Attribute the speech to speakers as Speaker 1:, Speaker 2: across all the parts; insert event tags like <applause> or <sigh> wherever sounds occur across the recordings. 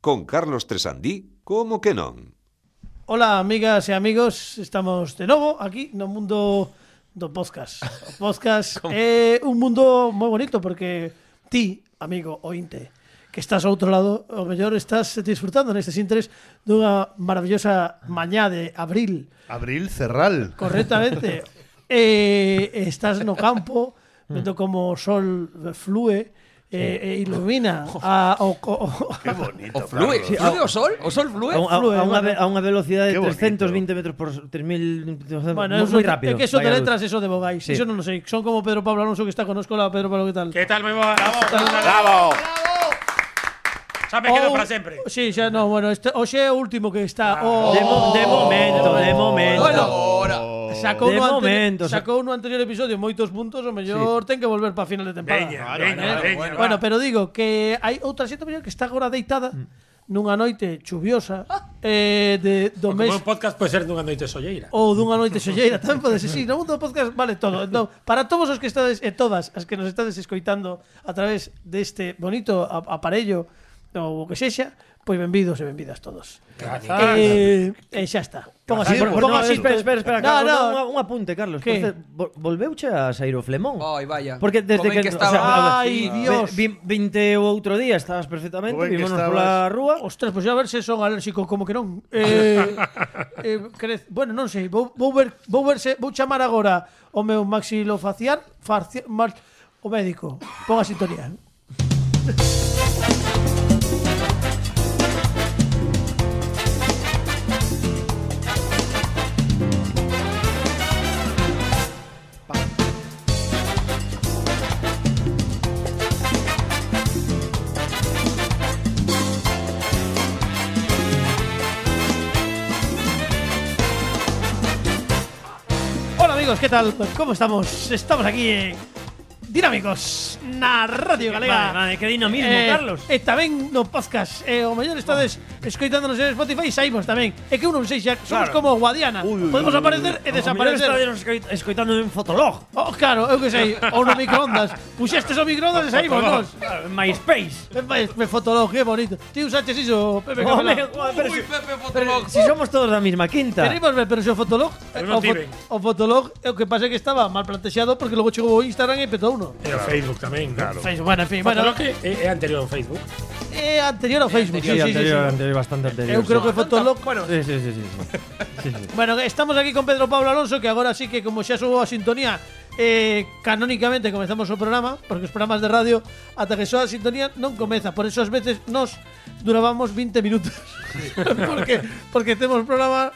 Speaker 1: con Carlos Tresandí, como que non?
Speaker 2: Ola, amigas e amigos, estamos de novo aquí no mundo do podcast. O podcast é un mundo moi bonito porque ti, amigo ointe, que estás ao outro lado, o mellor estás disfrutando este nestes intres dunha maravillosa mañá de abril.
Speaker 3: Abril Cerral.
Speaker 2: Correctamente. eh, estás no campo, vendo como o sol flúe eh, e ilumina a, o, o,
Speaker 3: Qué bonito.
Speaker 4: O flúe,
Speaker 3: Carlos.
Speaker 4: flúe o sol, o sol flúe.
Speaker 5: A, un- a-
Speaker 2: Flúe,
Speaker 5: a unha,
Speaker 2: bueno.
Speaker 5: ve- a unha velocidade
Speaker 3: Qué
Speaker 5: de
Speaker 3: bonito.
Speaker 5: 320 metros por 3000
Speaker 2: Bueno,
Speaker 5: moi,
Speaker 2: eso,
Speaker 5: moi rápido.
Speaker 2: Es que eso de
Speaker 5: vaya luz.
Speaker 2: letras, eso de Bogais.
Speaker 5: Sí.
Speaker 2: Eso no lo sé. Son como Pedro Pablo Alonso que está con Hola, Pedro Pablo, ¿qué tal?
Speaker 6: ¿Qué tal? Muy buenas.
Speaker 3: ¡Bravo!
Speaker 6: Ya me quedo
Speaker 2: Oh,
Speaker 6: para siempre. Ah,
Speaker 2: Sí, ya no, bueno, este, Oxe é o último que está. Oh,
Speaker 5: De, mo- de momento, de momento.
Speaker 4: Ahora.
Speaker 2: sacou,
Speaker 5: de
Speaker 2: no
Speaker 5: momento,
Speaker 2: anteri-
Speaker 5: sa-
Speaker 2: sacou no anterior episodio moitos puntos, o mellor ten que volver para final de temporada.
Speaker 6: Veña,
Speaker 3: Claro,
Speaker 6: veña,
Speaker 3: claro,
Speaker 6: veña,
Speaker 2: bueno,
Speaker 6: va.
Speaker 2: pero digo que hai outra xente mellor que está agora deitada
Speaker 5: Mm.
Speaker 2: nunha noite chuviosa eh, de do
Speaker 6: Porque
Speaker 2: mes
Speaker 6: un podcast puede ser de una noche solleira.
Speaker 2: ou dunha noite solleira, <laughs> tamén podes, sí, no mundo do podcast vale todo. No, para todos os que estades e todas as que nos estades escoitando a través deste bonito a- aparello ou o que sexa, pois benvidos e benvidas todos. Eh, e xa está. Pon así,
Speaker 5: Sí, por- por-
Speaker 2: pon
Speaker 5: no,
Speaker 2: así.
Speaker 5: espera, espera, espera,
Speaker 2: No,
Speaker 5: Carlos,
Speaker 2: no.
Speaker 5: un, un apunte, Carlos.
Speaker 2: ¿Qué?
Speaker 5: Por ce- vo- volveuche a sair o flemón.
Speaker 4: Ay, vaya.
Speaker 5: Porque desde
Speaker 4: Como en
Speaker 5: que,
Speaker 4: estaba.
Speaker 2: Ay,
Speaker 5: ve-
Speaker 2: Dios.
Speaker 5: vi- vinte o outro día estabas perfectamente,
Speaker 3: Como en que
Speaker 5: vímonos
Speaker 3: estabas.
Speaker 5: pola rúa.
Speaker 2: Ostras, pois pues a ver se son alérxico como que
Speaker 5: <laughs>
Speaker 2: non. Eh, eh, crez, bueno, non sei, vou, vou ver, vou verse, vou chamar agora o meu maxilofacial, farcia, mar, o médico. Pon a sintonía. Hola amigos, ¿qué tal? ¿Cómo estamos? Estamos aquí en Dinámicos na Radio Galega.
Speaker 5: Vale, vale, que dinamismo, Carlos.
Speaker 2: E tamén no podcast. E o mellor estades escoitándonos en Spotify e saímos tamén. É que un non sei xa, somos
Speaker 5: Claro.
Speaker 2: como Guadiana.
Speaker 3: Ui, ui,
Speaker 2: Podemos
Speaker 3: ui, ui,
Speaker 2: aparecer e desaparecer.
Speaker 5: escoitando en fotolog.
Speaker 2: Oh, claro, eu que sei, ou no microondas. Puxestes o microondas e
Speaker 5: <laughs>
Speaker 2: saímos nós.
Speaker 5: En MySpace.
Speaker 2: Me, me fotolog, que bonito. Ti usaches iso, Pepe Capelá.
Speaker 5: Home, <laughs> joder, pero
Speaker 4: Uy,
Speaker 5: si-
Speaker 4: Pepe
Speaker 5: pero
Speaker 4: Fotolog.
Speaker 5: si somos todos da misma quinta.
Speaker 2: Tenemos, pero se o fotolog, o,
Speaker 6: Eu non tiven.
Speaker 2: o fotolog, é o que pasa é que estaba mal plantexado porque logo chegou o Instagram e petou uno.
Speaker 6: Pero Facebook también, ¿no?
Speaker 3: Claro.
Speaker 2: Facebook, bueno, en fin,
Speaker 6: Bueno,
Speaker 2: bueno,
Speaker 6: lo que es es anterior a Facebook.
Speaker 2: é Eh, anterior ao Facebook. sí,
Speaker 5: Sí,
Speaker 2: sí, sí,
Speaker 5: anterior,
Speaker 2: sí.
Speaker 5: anterior, bastante anterior.
Speaker 2: Eu creo
Speaker 5: sí.
Speaker 2: que fotolog...
Speaker 6: Bueno,
Speaker 5: Sí, sí, sí, sí. sí. Sí, sí.
Speaker 2: Bueno, estamos aquí con Pedro Pablo Alonso, que agora sí que como xa subo a sintonía, eh, canónicamente comezamos o programa, porque os programas de radio ata que soa a sintonía non comeza, por eso ás veces nos durábamos 20 minutos. <laughs> porque porque temos programa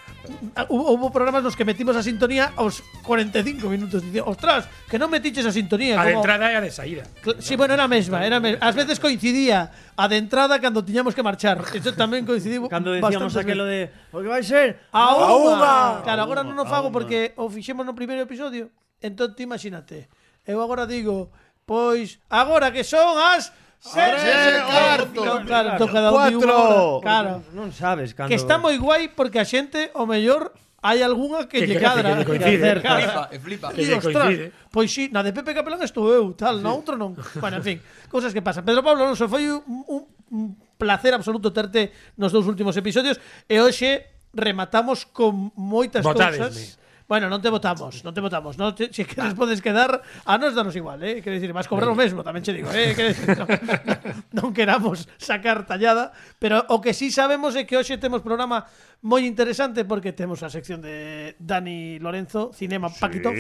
Speaker 2: hubo, hubo programas nos que metimos a sintonía aos 45 minutos. Dice, "Ostras, que non metiches a sintonía."
Speaker 6: a de
Speaker 2: como-
Speaker 6: entrada y a de salida.
Speaker 2: Cl- Sí, bueno, era a mesma, era a mesma. Ás veces coincidía a de entrada cando tiñamos que marchar. Eso tamén coincidiu
Speaker 5: <laughs> Cando decíamos
Speaker 2: bastantes
Speaker 5: aquelo
Speaker 2: veces.
Speaker 5: de porque vai ser
Speaker 2: A
Speaker 5: a
Speaker 2: unha. Claro, agora
Speaker 3: A
Speaker 2: non
Speaker 3: unha,
Speaker 2: o
Speaker 3: a
Speaker 2: fago
Speaker 3: unha.
Speaker 2: porque o fixemos no primeiro episodio. Entón ti imagínate. Eu agora digo, pois agora que son as
Speaker 3: Tres e cuarto.
Speaker 2: No, claro, entón cada un di unha
Speaker 3: Cuatro.
Speaker 2: hora. Claro.
Speaker 5: Non sabes cando
Speaker 2: Que está moi guai porque a xente, o mellor, hai algunha que lle
Speaker 6: Que- que-
Speaker 2: cadra.
Speaker 6: que coincide.
Speaker 2: lle cadra.
Speaker 4: Flipa, eh, flipa.
Speaker 2: Di,
Speaker 6: Que lle
Speaker 2: ostras,
Speaker 6: coincide.
Speaker 2: pois si, na de Pepe Capelán estou eu, tal, na outro non. Bueno, en fin, cousas que pasan. Pedro Pablo Alonso, foi un, un, un placer absoluto terte nos dous últimos episodios e hoxe rematamos con moitas
Speaker 6: Votádesme.
Speaker 2: cousas. Bueno, non te votamos, non te votamos. No te, si
Speaker 6: Ah.
Speaker 2: queres podes quedar, a nos danos igual, eh? Quer dicir, vas cobrar o mesmo, tamén che digo, eh? Quer dicir, non, <laughs> non queramos sacar tallada, pero o que sí sabemos é que hoxe temos programa moi interesante porque temos a sección de Dani Lorenzo, Cinema Paquitov,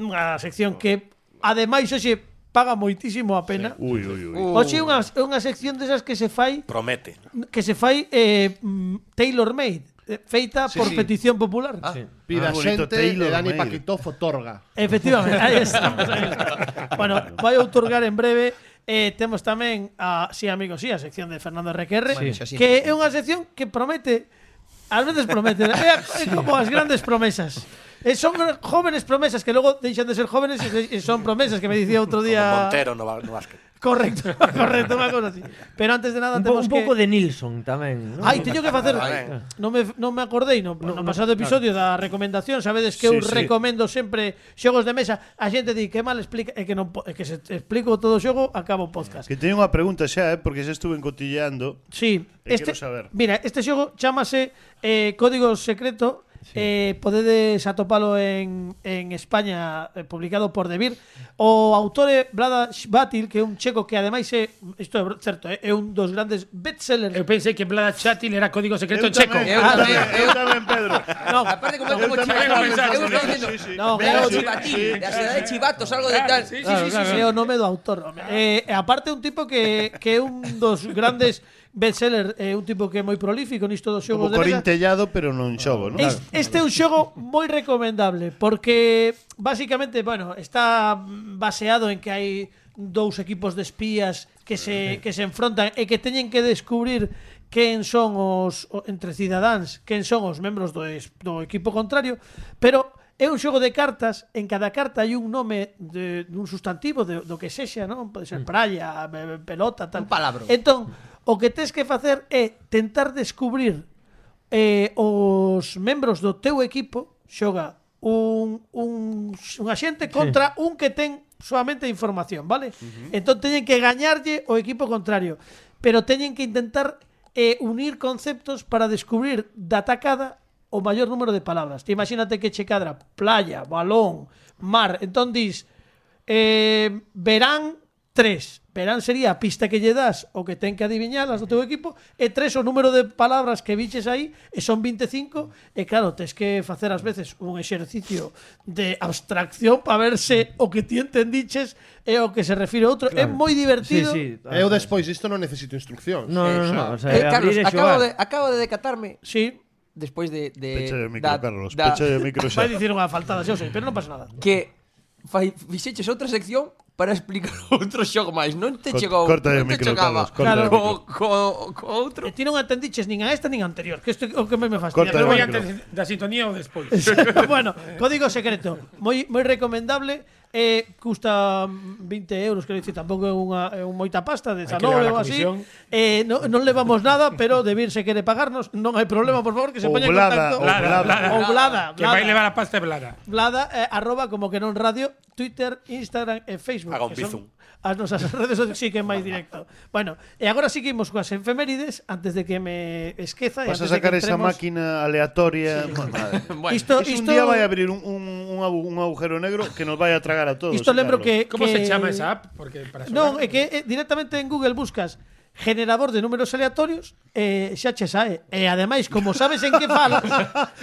Speaker 2: unha sección que ademais hoxe paga moitísimo a pena.
Speaker 3: Uy, uy, uy.
Speaker 2: Hoxe é unha, é unha sección desas que se fai
Speaker 7: Promete.
Speaker 2: que se fai eh, tailor made, feita por
Speaker 4: sí.
Speaker 2: petición popular.
Speaker 3: Ah,
Speaker 8: Pida
Speaker 3: bonito,
Speaker 8: xente
Speaker 3: Taylor
Speaker 8: e Dani
Speaker 3: Made.
Speaker 8: Paquitov otorga.
Speaker 2: Efectivamente, aí estamos, aí estamos. Bueno, vai outorgar en breve eh, temos tamén a Si sí, Amigos Si, sí, a sección de Fernando Requerre
Speaker 4: Sí.
Speaker 2: que é unha sección que promete ás veces promete, é, é como as grandes promesas Eh, son jóvenes promesas que luego deixan de ser jóvenes e se- e son promesas que me dicía outro
Speaker 4: Como
Speaker 2: día.
Speaker 4: Montero no, va- no básquet.
Speaker 2: Correcto, <laughs> correcto, una cosa así. Pero antes de nada
Speaker 5: Un, po-
Speaker 2: temos
Speaker 5: un pouco
Speaker 2: que...
Speaker 5: de Nilsson tamén, non?
Speaker 2: Ai, teño que facer...
Speaker 4: Ay.
Speaker 2: Non me, non me acordei no, no, pasado episodio da recomendación Sabedes que
Speaker 6: Sí,
Speaker 2: eu
Speaker 6: sí.
Speaker 2: recomendo sempre xogos de mesa A xente di que mal explica E que, non, po- é que se explico todo o xogo Acabo o podcast
Speaker 3: Que teño unha pregunta xa, eh, porque xa estuve encotillando.
Speaker 2: Sí,
Speaker 3: E quero saber.
Speaker 2: Mira, este xogo chámase eh, Código Secreto. Eh, podedes atopalo en, en España eh, publicado por Devir o autor é Vlada Batil que é un checo que ademais é isto é br- certo, eh, é, é un dos grandes bestsellers
Speaker 6: Eu pensei que Blada Chatil era código
Speaker 3: Eu
Speaker 6: secreto en checo.
Speaker 3: tamén,
Speaker 4: Eu
Speaker 3: Eu
Speaker 4: tamén,
Speaker 3: tamén, eu tamén, Pedro.
Speaker 2: no,
Speaker 4: Aparte, como,
Speaker 3: Eu
Speaker 4: como
Speaker 3: tamén o
Speaker 4: chivato, eu
Speaker 3: pensaba,
Speaker 4: estaba
Speaker 3: sí,
Speaker 4: diciendo,
Speaker 3: sí, sí.
Speaker 2: No,
Speaker 4: "Mira,
Speaker 2: claro,
Speaker 4: o chivatín,
Speaker 3: sí.
Speaker 4: la ciudad de chivatos, algo de
Speaker 6: Claro,
Speaker 2: Ah,
Speaker 4: tal. Eh,
Speaker 6: sí, sí,
Speaker 5: Claro,
Speaker 6: sí, sí,
Speaker 5: claro.
Speaker 6: sí.
Speaker 2: é o nome do autor home. eh, e aparte é un tipo que, que é un dos grandes <laughs> bestsellers é un tipo que é moi prolífico nisto dos xogos
Speaker 3: Como
Speaker 2: de mesa
Speaker 3: corintellado, pero non xogo, non?
Speaker 2: Es- Este es un juego muy recomendable porque básicamente, bueno, está baseado en que hay dos equipos de espías que se, que se enfrontan e que teñen que descubrir quen son os o- entre cidadáns, quen son os membros do, es- do equipo contrario, pero é un xogo de cartas, en cada carta hai un nome de, dun sustantivo de, do que sexa, non? Pode ser praia, be- be- pelota, tal.
Speaker 4: Un palabro.
Speaker 2: Entón, o que tes que facer é tentar descubrir eh, os membros do teu equipo xoga un, un, un axente contra sí. un que ten solamente información, vale? Uh -huh. Entón teñen que gañarlle o equipo contrario, pero teñen que intentar eh, unir conceptos para descubrir da tacada o maior número de palabras. Te imagínate que che cadra playa, balón, mar, entón dis eh, verán tres. Verán sería a pista que lle das o que ten que adiviñalas do teu equipo e tres o número de palabras que biches aí e son 25 e claro, tes que facer ás veces un exercicio de abstracción para verse o que ti entendiches e o que se refire a outro. Claro. É moi divertido.
Speaker 5: Sí, sí.
Speaker 7: Eu despois isto non necesito instrucción.
Speaker 5: No, no, no, o sea,
Speaker 4: Eh, Carlos,
Speaker 5: abrir e
Speaker 4: acabo
Speaker 5: xogar. <laughs>
Speaker 4: de, acabo de decatarme
Speaker 2: sí.
Speaker 4: despois de... de
Speaker 3: Pecha de micro,
Speaker 4: Eh, da-
Speaker 3: Carlos.
Speaker 4: da-
Speaker 3: Pecha de micro
Speaker 2: Vai
Speaker 3: xa.
Speaker 2: dicir unha faltada, xa o sei, pero non pasa nada.
Speaker 4: que fai- fixeches outra sección para explicar <laughs> outro xogo máis. Non te
Speaker 3: Cort-
Speaker 4: chegou,
Speaker 3: corta
Speaker 4: non
Speaker 3: o
Speaker 4: te
Speaker 3: micro,
Speaker 4: chegaba.
Speaker 3: Carlos, corta
Speaker 2: o
Speaker 4: co,
Speaker 3: micro.
Speaker 4: co, co outro.
Speaker 2: E ti non entendiches nin a esta nin a anterior, que isto é o que me, me fastidia.
Speaker 3: Corta
Speaker 2: Pero
Speaker 6: Eu voy
Speaker 2: bueno,
Speaker 3: micro.
Speaker 6: antes da sintonía ou despois.
Speaker 2: <laughs> bueno, código secreto, moi moi recomendable. Eh, custa 20 euros, quero dicir, tampouco é unha é un moita pasta, de
Speaker 6: que levar a
Speaker 2: ou así.
Speaker 6: comisión.
Speaker 2: Eh, no, non levamos nada, pero Debir se quere pagarnos, non hai problema, por favor, que se
Speaker 3: Ou
Speaker 2: poña en contacto.
Speaker 3: Blada, ou Blada.
Speaker 2: Ou Blada,
Speaker 6: Que vai
Speaker 2: Blada.
Speaker 6: levar a pasta de Blada.
Speaker 2: Blada, eh, arroba como que non radio, Twitter, Instagram e Facebook.
Speaker 4: Haga un
Speaker 2: que
Speaker 4: bizum.
Speaker 2: son As nosas <laughs> redes sociales sí que é máis directo. Bueno, e agora sí que imos coas efemérides antes de que me esqueza. e
Speaker 3: Vas a
Speaker 2: antes de
Speaker 3: sacar
Speaker 2: que
Speaker 3: esa
Speaker 2: entremos-
Speaker 3: máquina aleatoria. Madre.
Speaker 4: Bueno,
Speaker 2: Isto,
Speaker 3: Es
Speaker 2: isto,
Speaker 3: un día vai a abrir un, un, un agu- un agujero negro que nos vai a tragar a todos.
Speaker 2: isto lembro
Speaker 3: Carlos.
Speaker 2: que...
Speaker 6: Como
Speaker 2: que-
Speaker 6: se chama esa app? Porque para
Speaker 2: Non,
Speaker 6: sonar-
Speaker 2: é que eh, directamente en Google buscas generador de números aleatorios eh, xa che sae. E ademais, como sabes en
Speaker 6: <laughs>
Speaker 2: que falas,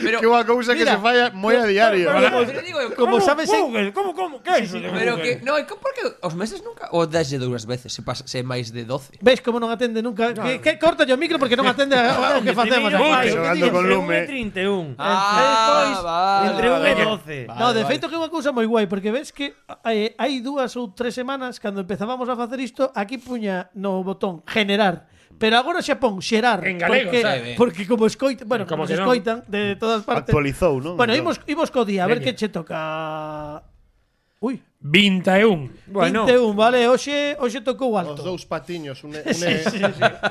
Speaker 4: pero,
Speaker 3: Que unha cousa que
Speaker 2: Mira,
Speaker 3: se falla moi a diario. ¿eh?
Speaker 4: pero, pero digo, eu,
Speaker 2: como sabes en...
Speaker 6: Google, como como que é iso? de
Speaker 4: pero
Speaker 6: Google?
Speaker 4: que no, é que porque os meses nunca o desde dúas veces, se pasa se é máis de 12.
Speaker 2: Ves como non atende nunca que, que corta o micro porque non atende
Speaker 6: <laughs>
Speaker 2: a- ao que facemos
Speaker 5: Mira,
Speaker 2: aquí.
Speaker 5: mira,
Speaker 3: Xogando con
Speaker 5: entre
Speaker 3: lume.
Speaker 5: un e 31.
Speaker 4: Ah, vale,
Speaker 5: entre un e
Speaker 4: vale.
Speaker 5: 12.
Speaker 4: Vale,
Speaker 2: No, de
Speaker 4: vale.
Speaker 2: feito que é unha cousa moi guai Porque ves que eh, hai dúas ou tres semanas Cando empezábamos a facer isto Aquí puña no botón generar Pero agora xa pon xerar
Speaker 6: En galego,
Speaker 2: porque,
Speaker 6: sabe?
Speaker 2: porque como escoitan Bueno, como,
Speaker 6: Como
Speaker 2: como
Speaker 6: que non.
Speaker 2: escoitan de todas partes
Speaker 3: Actualizou, non?
Speaker 2: Bueno, imos, imos co día A ver
Speaker 6: Veña.
Speaker 2: que che toca Ui,
Speaker 6: 21.
Speaker 5: Bueno.
Speaker 2: 21, vale, hoxe, hoxe tocou
Speaker 7: Os
Speaker 2: alto
Speaker 7: dous patiños, un e, un e,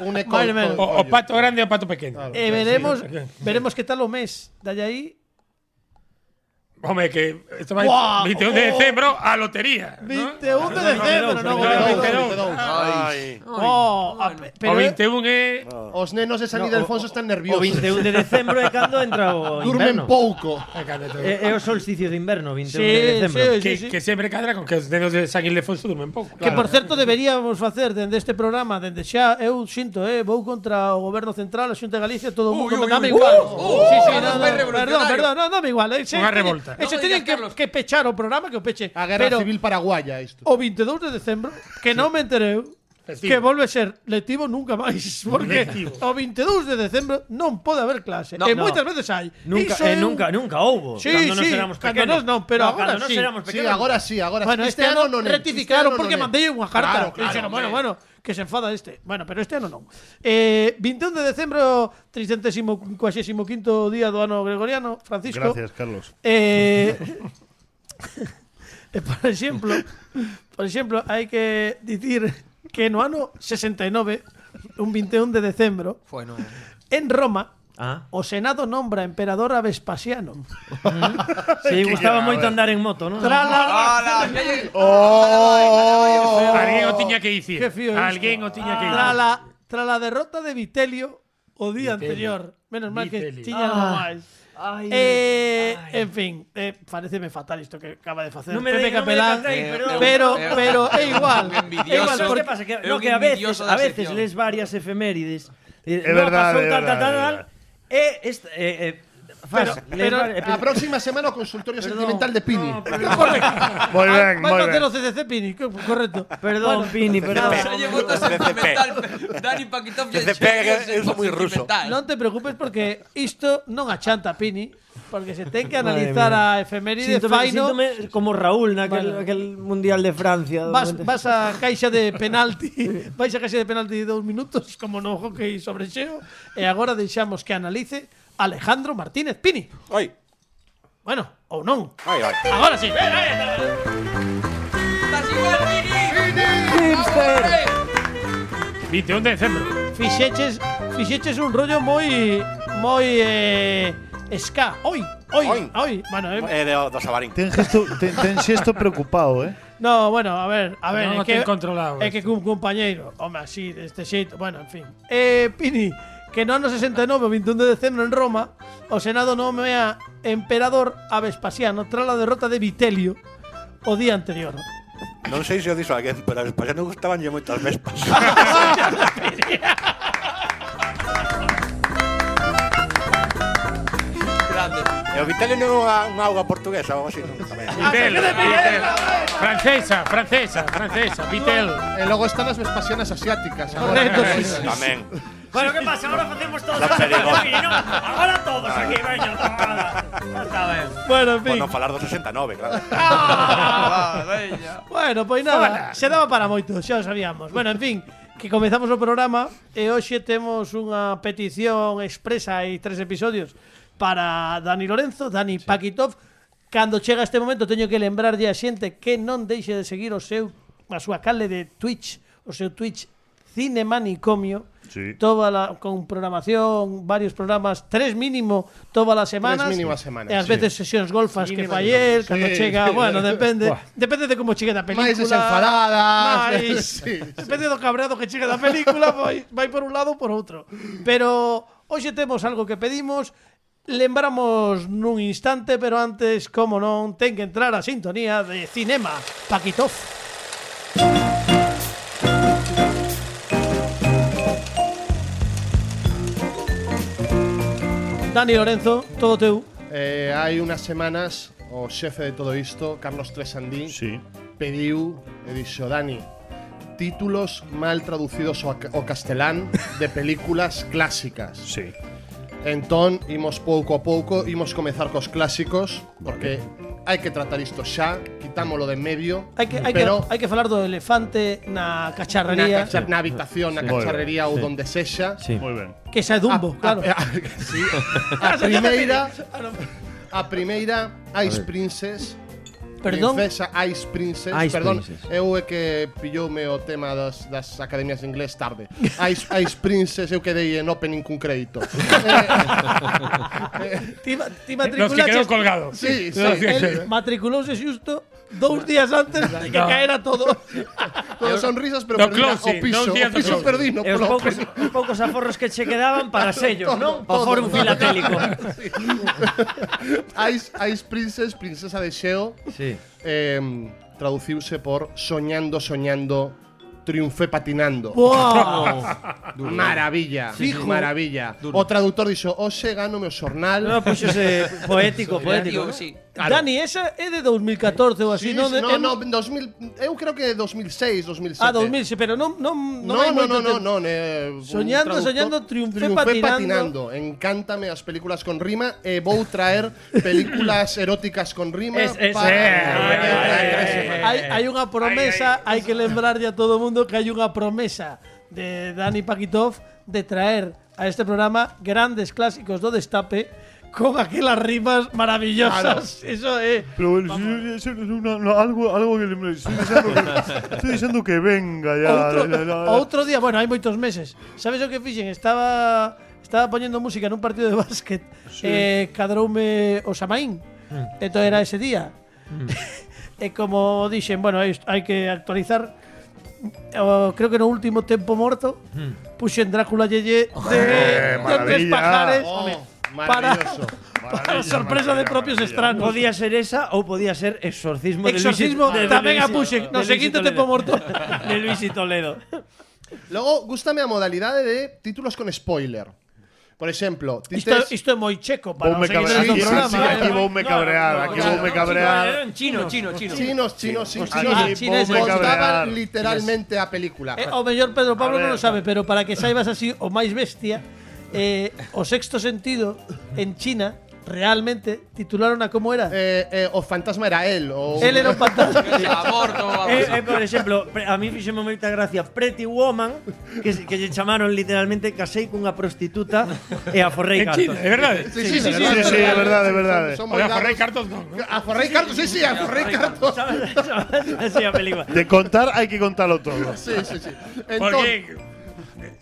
Speaker 7: un e
Speaker 2: Máis ou menos.
Speaker 6: O, o pato grande e o pato pequeno.
Speaker 2: E veremos veremos que tal o mes Dalle aí
Speaker 6: Home, que isto vai
Speaker 2: Buah,
Speaker 6: 21 de decembro a lotería. ¿no?
Speaker 2: 21 de decembro, non,
Speaker 6: no, no,
Speaker 2: non,
Speaker 6: no.
Speaker 2: Oh, a pe-
Speaker 6: O
Speaker 2: pero é-
Speaker 6: 21 é
Speaker 7: Os nenos de San Ildefonso están
Speaker 5: O
Speaker 7: nerviosos.
Speaker 5: 21 de decembro é cando entra o
Speaker 7: Durmen
Speaker 5: inverno. Eh,
Speaker 7: pouco.
Speaker 6: Ai, cando te-
Speaker 5: É, é o solsticio de inverno, 21
Speaker 2: Sí,
Speaker 5: de decembro.
Speaker 2: sí,
Speaker 6: que, que sempre cadra con que os dedos de San Ildefonso dumen pouco.
Speaker 2: Que por certo deberíamos facer dende este programa, dende xa eu xinto, eh, vou contra o goberno central, a Xunta de Galicia, todo o mundo,
Speaker 4: Ui, ui,
Speaker 2: dame
Speaker 4: ui.
Speaker 2: igual.
Speaker 4: Uh, uh,
Speaker 2: sí, sí,
Speaker 4: uh,
Speaker 2: no,
Speaker 4: non
Speaker 2: no,
Speaker 4: vai
Speaker 2: perdón,
Speaker 4: revolucionario.
Speaker 2: perdón, no, dame igual, eh,
Speaker 6: Unha revolta.
Speaker 2: Ese
Speaker 4: Non
Speaker 2: teñen
Speaker 4: digas,
Speaker 2: que,
Speaker 4: Carlos.
Speaker 2: que pechar o programa que o peche.
Speaker 7: A guerra
Speaker 2: Pero
Speaker 7: civil paraguaya isto.
Speaker 2: o 22 de decembro, que non me entereu,
Speaker 6: Festivo.
Speaker 2: que volve ser letivo nunca
Speaker 5: <laughs>
Speaker 2: máis, porque
Speaker 6: Lectivo.
Speaker 2: o 22 de decembro non pode haber clase.
Speaker 4: No,
Speaker 2: e
Speaker 4: no.
Speaker 2: moitas veces hai.
Speaker 5: Nunca,
Speaker 2: Iso é
Speaker 5: eh,
Speaker 2: un-
Speaker 5: nunca, nunca houbo.
Speaker 2: Sí,
Speaker 5: cando nos
Speaker 2: sí,
Speaker 5: éramos
Speaker 2: cando
Speaker 5: pequenos.
Speaker 2: nós non, pero
Speaker 5: No,
Speaker 2: agora
Speaker 5: cando nos
Speaker 2: sí.
Speaker 5: éramos
Speaker 7: Sí,
Speaker 5: pequenos.
Speaker 7: agora sí, agora
Speaker 2: Bueno,
Speaker 7: sí.
Speaker 2: este, ano,
Speaker 7: non é,
Speaker 2: rectificaron
Speaker 7: este ano
Speaker 2: porque
Speaker 7: non é.
Speaker 2: mandei unha carta.
Speaker 7: Claro,
Speaker 2: Claro,
Speaker 7: claro,
Speaker 2: bueno,
Speaker 7: hombre.
Speaker 2: bueno, que se enfada este. Bueno, pero este ano non. Eh, 21 de decembro, 345 día do ano gregoriano, Francisco.
Speaker 3: Gracias, Carlos.
Speaker 2: Eh, <laughs> eh, por exemplo, por exemplo, hai que dicir que no ano 69, un 21 de decembro,
Speaker 4: Bueno,
Speaker 2: en Roma,
Speaker 5: Ah,
Speaker 2: o Senado nombra emperador a Vespasiano.
Speaker 5: sí, gustaba moito andar en moto, non?
Speaker 2: Tras la-
Speaker 6: Alguén o tiña que dicir.
Speaker 2: Que fío isto.
Speaker 6: Alguén o ¡Oh! tiña que
Speaker 2: Tras
Speaker 6: dicir.
Speaker 2: la, tras la derrota de Vitelio o día anterior. Menos mal que
Speaker 6: Vitelio.
Speaker 2: tiña algo máis. Eh, en fin, eh, pareceme fatal isto que acaba de facer.
Speaker 5: Non me
Speaker 2: Pepe
Speaker 5: diga, non me
Speaker 2: Capelán,
Speaker 5: decatéis, pero-
Speaker 2: pero,
Speaker 4: Eh,
Speaker 2: pero é igual.
Speaker 4: un
Speaker 2: É
Speaker 4: envidioso.
Speaker 2: igual
Speaker 5: Eso
Speaker 2: porque
Speaker 5: que pasa que,
Speaker 4: é
Speaker 5: no,
Speaker 4: un
Speaker 5: que a veces,
Speaker 4: envidioso da
Speaker 5: a veces
Speaker 4: sección.
Speaker 5: lees varias efemérides. eh,
Speaker 3: É verdade, é verdade, é verdade.
Speaker 5: eh, esta- eh, eh, fas,
Speaker 2: Pero-
Speaker 5: lees
Speaker 2: pero-
Speaker 5: varias- eh,
Speaker 7: A próxima semana o consultorio sentimental de Pini.
Speaker 3: Muy
Speaker 2: Van
Speaker 3: bien, muy
Speaker 2: a hacer
Speaker 3: bien.
Speaker 2: los CCC, Pini, co-
Speaker 5: <laughs>
Speaker 2: correcto.
Speaker 5: Perdón, Pini, perdón.
Speaker 4: Pues
Speaker 5: <laughs>
Speaker 4: oye, voto sentimental. Dani Paquitov ya
Speaker 8: CCP,
Speaker 4: decía
Speaker 8: que es
Speaker 4: voto
Speaker 8: muy ruso.
Speaker 4: sentimental.
Speaker 2: Non te preocupes porque isto non achanta Pini, porque se ten que
Speaker 5: Madre
Speaker 2: analizar
Speaker 5: mía.
Speaker 2: a efeméride
Speaker 5: Síntome,
Speaker 2: faino.
Speaker 5: síntome como Raúl naquel
Speaker 2: Vale.
Speaker 5: aquel Mundial de Francia.
Speaker 2: Vas,
Speaker 5: donde-
Speaker 2: vas a caixa de penalti <laughs> Vais a caixa de penalti de dous minutos Como no hockey sobre xeo E agora deixamos que analice Alejandro Martínez Pini
Speaker 1: Ai,
Speaker 2: Bueno, ou non
Speaker 1: ai, ai.
Speaker 2: Agora sí
Speaker 4: Estás igual, Vini. Hombre.
Speaker 6: 21 de decembro.
Speaker 2: Fixeches, fixeches un rollo moi Moi eh, Ska Oi, oi,
Speaker 8: Oi.
Speaker 2: oi Bueno, eh,
Speaker 8: Eh, de, do Sabarín.
Speaker 3: Ten gesto, ten, ten xesto preocupado, eh?
Speaker 2: No, bueno, a ver, a ver, é
Speaker 6: No, no
Speaker 2: que
Speaker 6: ten controlado
Speaker 2: É que cun compañeiro, home, así deste xeito, bueno, en fin. Eh, Pini, que no ano 69, o 21 de decembro en Roma, o Senado nomea emperador a Vespasiano tras la derrota de Vitelio o día anterior.
Speaker 8: Non sei se o dixo alguén, pero as pasas non gustaban lle moitas vespas.
Speaker 4: Grande.
Speaker 8: e o Vitelio non é unha, unha auga portuguesa ou algo así, non? Tamén.
Speaker 6: Vitel, Vitel. Francesa, francesa, francesa. Vitel.
Speaker 7: E logo están as Vespasianas asiáticas. agora.
Speaker 2: Correcto, sí, sí.
Speaker 8: Tamén.
Speaker 5: Bueno, ¿qué pasa? Ahora hacemos todos
Speaker 8: La perigo.
Speaker 5: ¿no? Ahora todos aquí, venga, tomada. Está bien.
Speaker 2: Bueno, en
Speaker 8: Por
Speaker 2: fin.
Speaker 8: non falar do 69, claro.
Speaker 4: Ah, venga.
Speaker 2: Bueno, pois nada, se daba para moito, xa o sabíamos. Bueno, en fin, que comezamos o programa e hoxe temos unha petición expresa e tres episodios para Dani Lorenzo, Dani Pakitov. Cando chega este momento teño que lembrarlle a xente que non deixe de seguir o seu a súa canle de Twitch, o seu Twitch Cinemanicomio.
Speaker 3: Sí.
Speaker 2: Toda la, con programación, varios programas, tres mínimo todas las semanas.
Speaker 7: mínimas semanas,
Speaker 2: E ás
Speaker 7: sí.
Speaker 2: veces sesións golfas que
Speaker 7: Mínima
Speaker 2: fallé,
Speaker 7: digamos.
Speaker 2: cando
Speaker 7: Sí.
Speaker 2: chega,
Speaker 7: <laughs>
Speaker 2: bueno, depende.
Speaker 7: Buah.
Speaker 2: Depende de como chegue da película.
Speaker 7: Máis desenfadadas.
Speaker 2: máis-
Speaker 7: <laughs> Sí, sí.
Speaker 2: Depende do cabreado que chegue da película, vai, vai por un lado ou por outro. Pero hoxe temos algo que pedimos, lembramos nun instante, pero antes, como non, ten que entrar a sintonía de Cinema Paquitov. Dani Lorenzo, todo teu.
Speaker 7: Eh, hai unas semanas o xefe de todo isto, Carlos Tresandín,
Speaker 3: Sí.
Speaker 7: pediu e dixo Dani títulos mal traducidos ao, ca- ao castelán de
Speaker 3: <laughs>
Speaker 7: películas clásicas.
Speaker 3: Sí.
Speaker 7: Entón, imos pouco a pouco, imos comezar cos clásicos, porque hai que tratar isto xa, quitámolo de en medio,
Speaker 2: Hai que, hai,
Speaker 7: pero
Speaker 2: que, hai que falar do elefante na
Speaker 7: na,
Speaker 2: cacharrería,
Speaker 7: cachar- na habitación, na
Speaker 3: Sí.
Speaker 7: cacharrería ou donde sexa.
Speaker 5: Sí.
Speaker 3: Muy bien.
Speaker 2: que xa é Dumbo, claro. Ah,
Speaker 7: A, a,
Speaker 2: <laughs>
Speaker 7: sí. Ah, eh, a primeira, a primeira Ice Princess
Speaker 2: Perdón.
Speaker 7: Princesa Ice Princess,
Speaker 5: Ice
Speaker 7: perdón,
Speaker 5: Princess.
Speaker 7: eu é que pilloume o tema das, das academias de inglés tarde. Ice, Ice Princess eu quedei en opening cun crédito.
Speaker 2: Ti, ma- ti
Speaker 6: Los que quedó
Speaker 2: matriculaches.
Speaker 6: colgado.
Speaker 7: Sí, sí.
Speaker 6: Los que-
Speaker 2: Él matriculouse xusto dous días antes de que
Speaker 6: No.
Speaker 2: caera todo.
Speaker 7: Todos son risas, pero
Speaker 6: No
Speaker 7: perdina,
Speaker 6: closing,
Speaker 7: o piso,
Speaker 6: no
Speaker 7: o
Speaker 6: cierto
Speaker 7: piso
Speaker 6: closing.
Speaker 7: perdino.
Speaker 5: E os
Speaker 7: polo-
Speaker 5: poucos, os poucos aforros que che quedaban para sellos, non? O
Speaker 7: todo.
Speaker 5: foro filatélico.
Speaker 7: Ice, Ice Princess, princesa de Xeo,
Speaker 5: Sí.
Speaker 7: eh, traduciuse por soñando, soñando, triunfé patinando.
Speaker 5: Oh,
Speaker 2: Buah.
Speaker 6: Ah.
Speaker 7: Maravilla,
Speaker 2: Fijo.
Speaker 7: maravilla. "Oh, O traductor dixo, hoxe gánome o xornal.
Speaker 5: No, puxose pues poético, poético.
Speaker 4: Digo,
Speaker 5: non?
Speaker 4: sí.
Speaker 7: Claro.
Speaker 2: Dani, esa é de 2014 ou así,
Speaker 7: Sí,
Speaker 2: non?
Speaker 7: sí,
Speaker 2: De-
Speaker 7: no,
Speaker 2: é-
Speaker 7: no, 2000, eu creo que 2006, 2007.
Speaker 2: Ah, 2000, pero non non
Speaker 7: No,
Speaker 2: hai
Speaker 7: no,
Speaker 2: moito
Speaker 7: no, no,
Speaker 2: tempo.
Speaker 7: no, ne-
Speaker 2: Soñando,
Speaker 7: un traductor.
Speaker 2: soñando, triunfé patinando.
Speaker 7: patinando. Encántame as películas con rima e vou traer
Speaker 2: <laughs>
Speaker 7: películas eróticas con rima
Speaker 2: Es- es-
Speaker 6: eh, eh, eh.
Speaker 2: hai, hai unha promesa, hai que lembrarlle a todo mundo que hai unha promesa de Dani Pakitov de traer a este programa grandes clásicos do destape con aquelas rimas maravillosas. <laughs> Eso é...
Speaker 3: Pero bueno, si- si- si- una- no, algo, algo que le estoy diciendo que, estoy diciendo que venga ya.
Speaker 2: Outro,
Speaker 3: la- la- la-
Speaker 2: outro día, bueno, hai moitos meses. Sabes o que fixen? Estaba estaba poñendo música nun partido de básquet. Eh, cadroume o Samaín. Esto era ese día. <laughs> e como dixen, bueno, isto hai que actualizar. O, creo que no último tempo morto puxen Drácula Yeye de, de tres
Speaker 3: maravilla.
Speaker 2: pajares
Speaker 7: Oh,
Speaker 2: para, <laughs>
Speaker 7: maravilloso.
Speaker 2: para sorpresa de propios estranos.
Speaker 5: Podía ser esa ou podía ser exorcismo, de Luis-
Speaker 2: Exorcismo
Speaker 5: de- de
Speaker 2: tamén a
Speaker 5: Luis-
Speaker 2: puxen
Speaker 5: de
Speaker 2: no
Speaker 5: Luis
Speaker 2: seguinte
Speaker 5: Toledo.
Speaker 2: tempo morto.
Speaker 5: <laughs> de Luis y Toledo.
Speaker 7: Logo, gústame a modalidade de títulos con spoiler. Por exemplo, ti
Speaker 2: Isto,
Speaker 7: tes-
Speaker 2: isto é moi checo para
Speaker 3: Voume
Speaker 2: os seguidores
Speaker 3: cabrear.
Speaker 2: do
Speaker 3: Sí, sí,
Speaker 2: programa.
Speaker 3: sí,
Speaker 2: eh.
Speaker 3: aquí voume
Speaker 5: No,
Speaker 3: cabrear.
Speaker 5: no,
Speaker 3: Aquí
Speaker 5: no,
Speaker 3: voume
Speaker 5: no,
Speaker 3: cabrear.
Speaker 5: En chino, chino, chino.
Speaker 7: chinos, chinos, chinos, chinos,
Speaker 2: Ah,
Speaker 3: Aquí
Speaker 2: chineses.
Speaker 3: voume cabrear.
Speaker 7: contaban literalmente a película.
Speaker 2: Eh, o mellor Pedro Pablo
Speaker 3: A ver.
Speaker 2: non o sabe, pero para que saibas así o máis bestia, eh, o sexto sentido en China realmente titularon a como era.
Speaker 7: Eh, eh, o fantasma era él. O
Speaker 2: Él era un
Speaker 3: <laughs>
Speaker 2: fantasma.
Speaker 4: Aborto,
Speaker 5: Eh,
Speaker 4: vamos.
Speaker 5: eh, por exemplo, pre- a mí fixeme moita gracia Pretty Woman, que, se- que lle chamaron literalmente casei cunha prostituta e aforrei
Speaker 6: En China,
Speaker 5: cartos.
Speaker 6: de verdad.
Speaker 7: sí, sí,
Speaker 3: sí, sí, é verdade, é verdade.
Speaker 2: eh.
Speaker 7: Son, son
Speaker 6: Oiga, Ferrey
Speaker 7: moi gatos.
Speaker 6: Cartos no. ¿no?
Speaker 7: A Forrey Cartos, sí, sí, a Forrey Cartos.
Speaker 5: Sabes, sabes, así a película.
Speaker 3: De contar hay que contarlo todo.
Speaker 7: Sí, sí, sí. Entón,
Speaker 6: Porque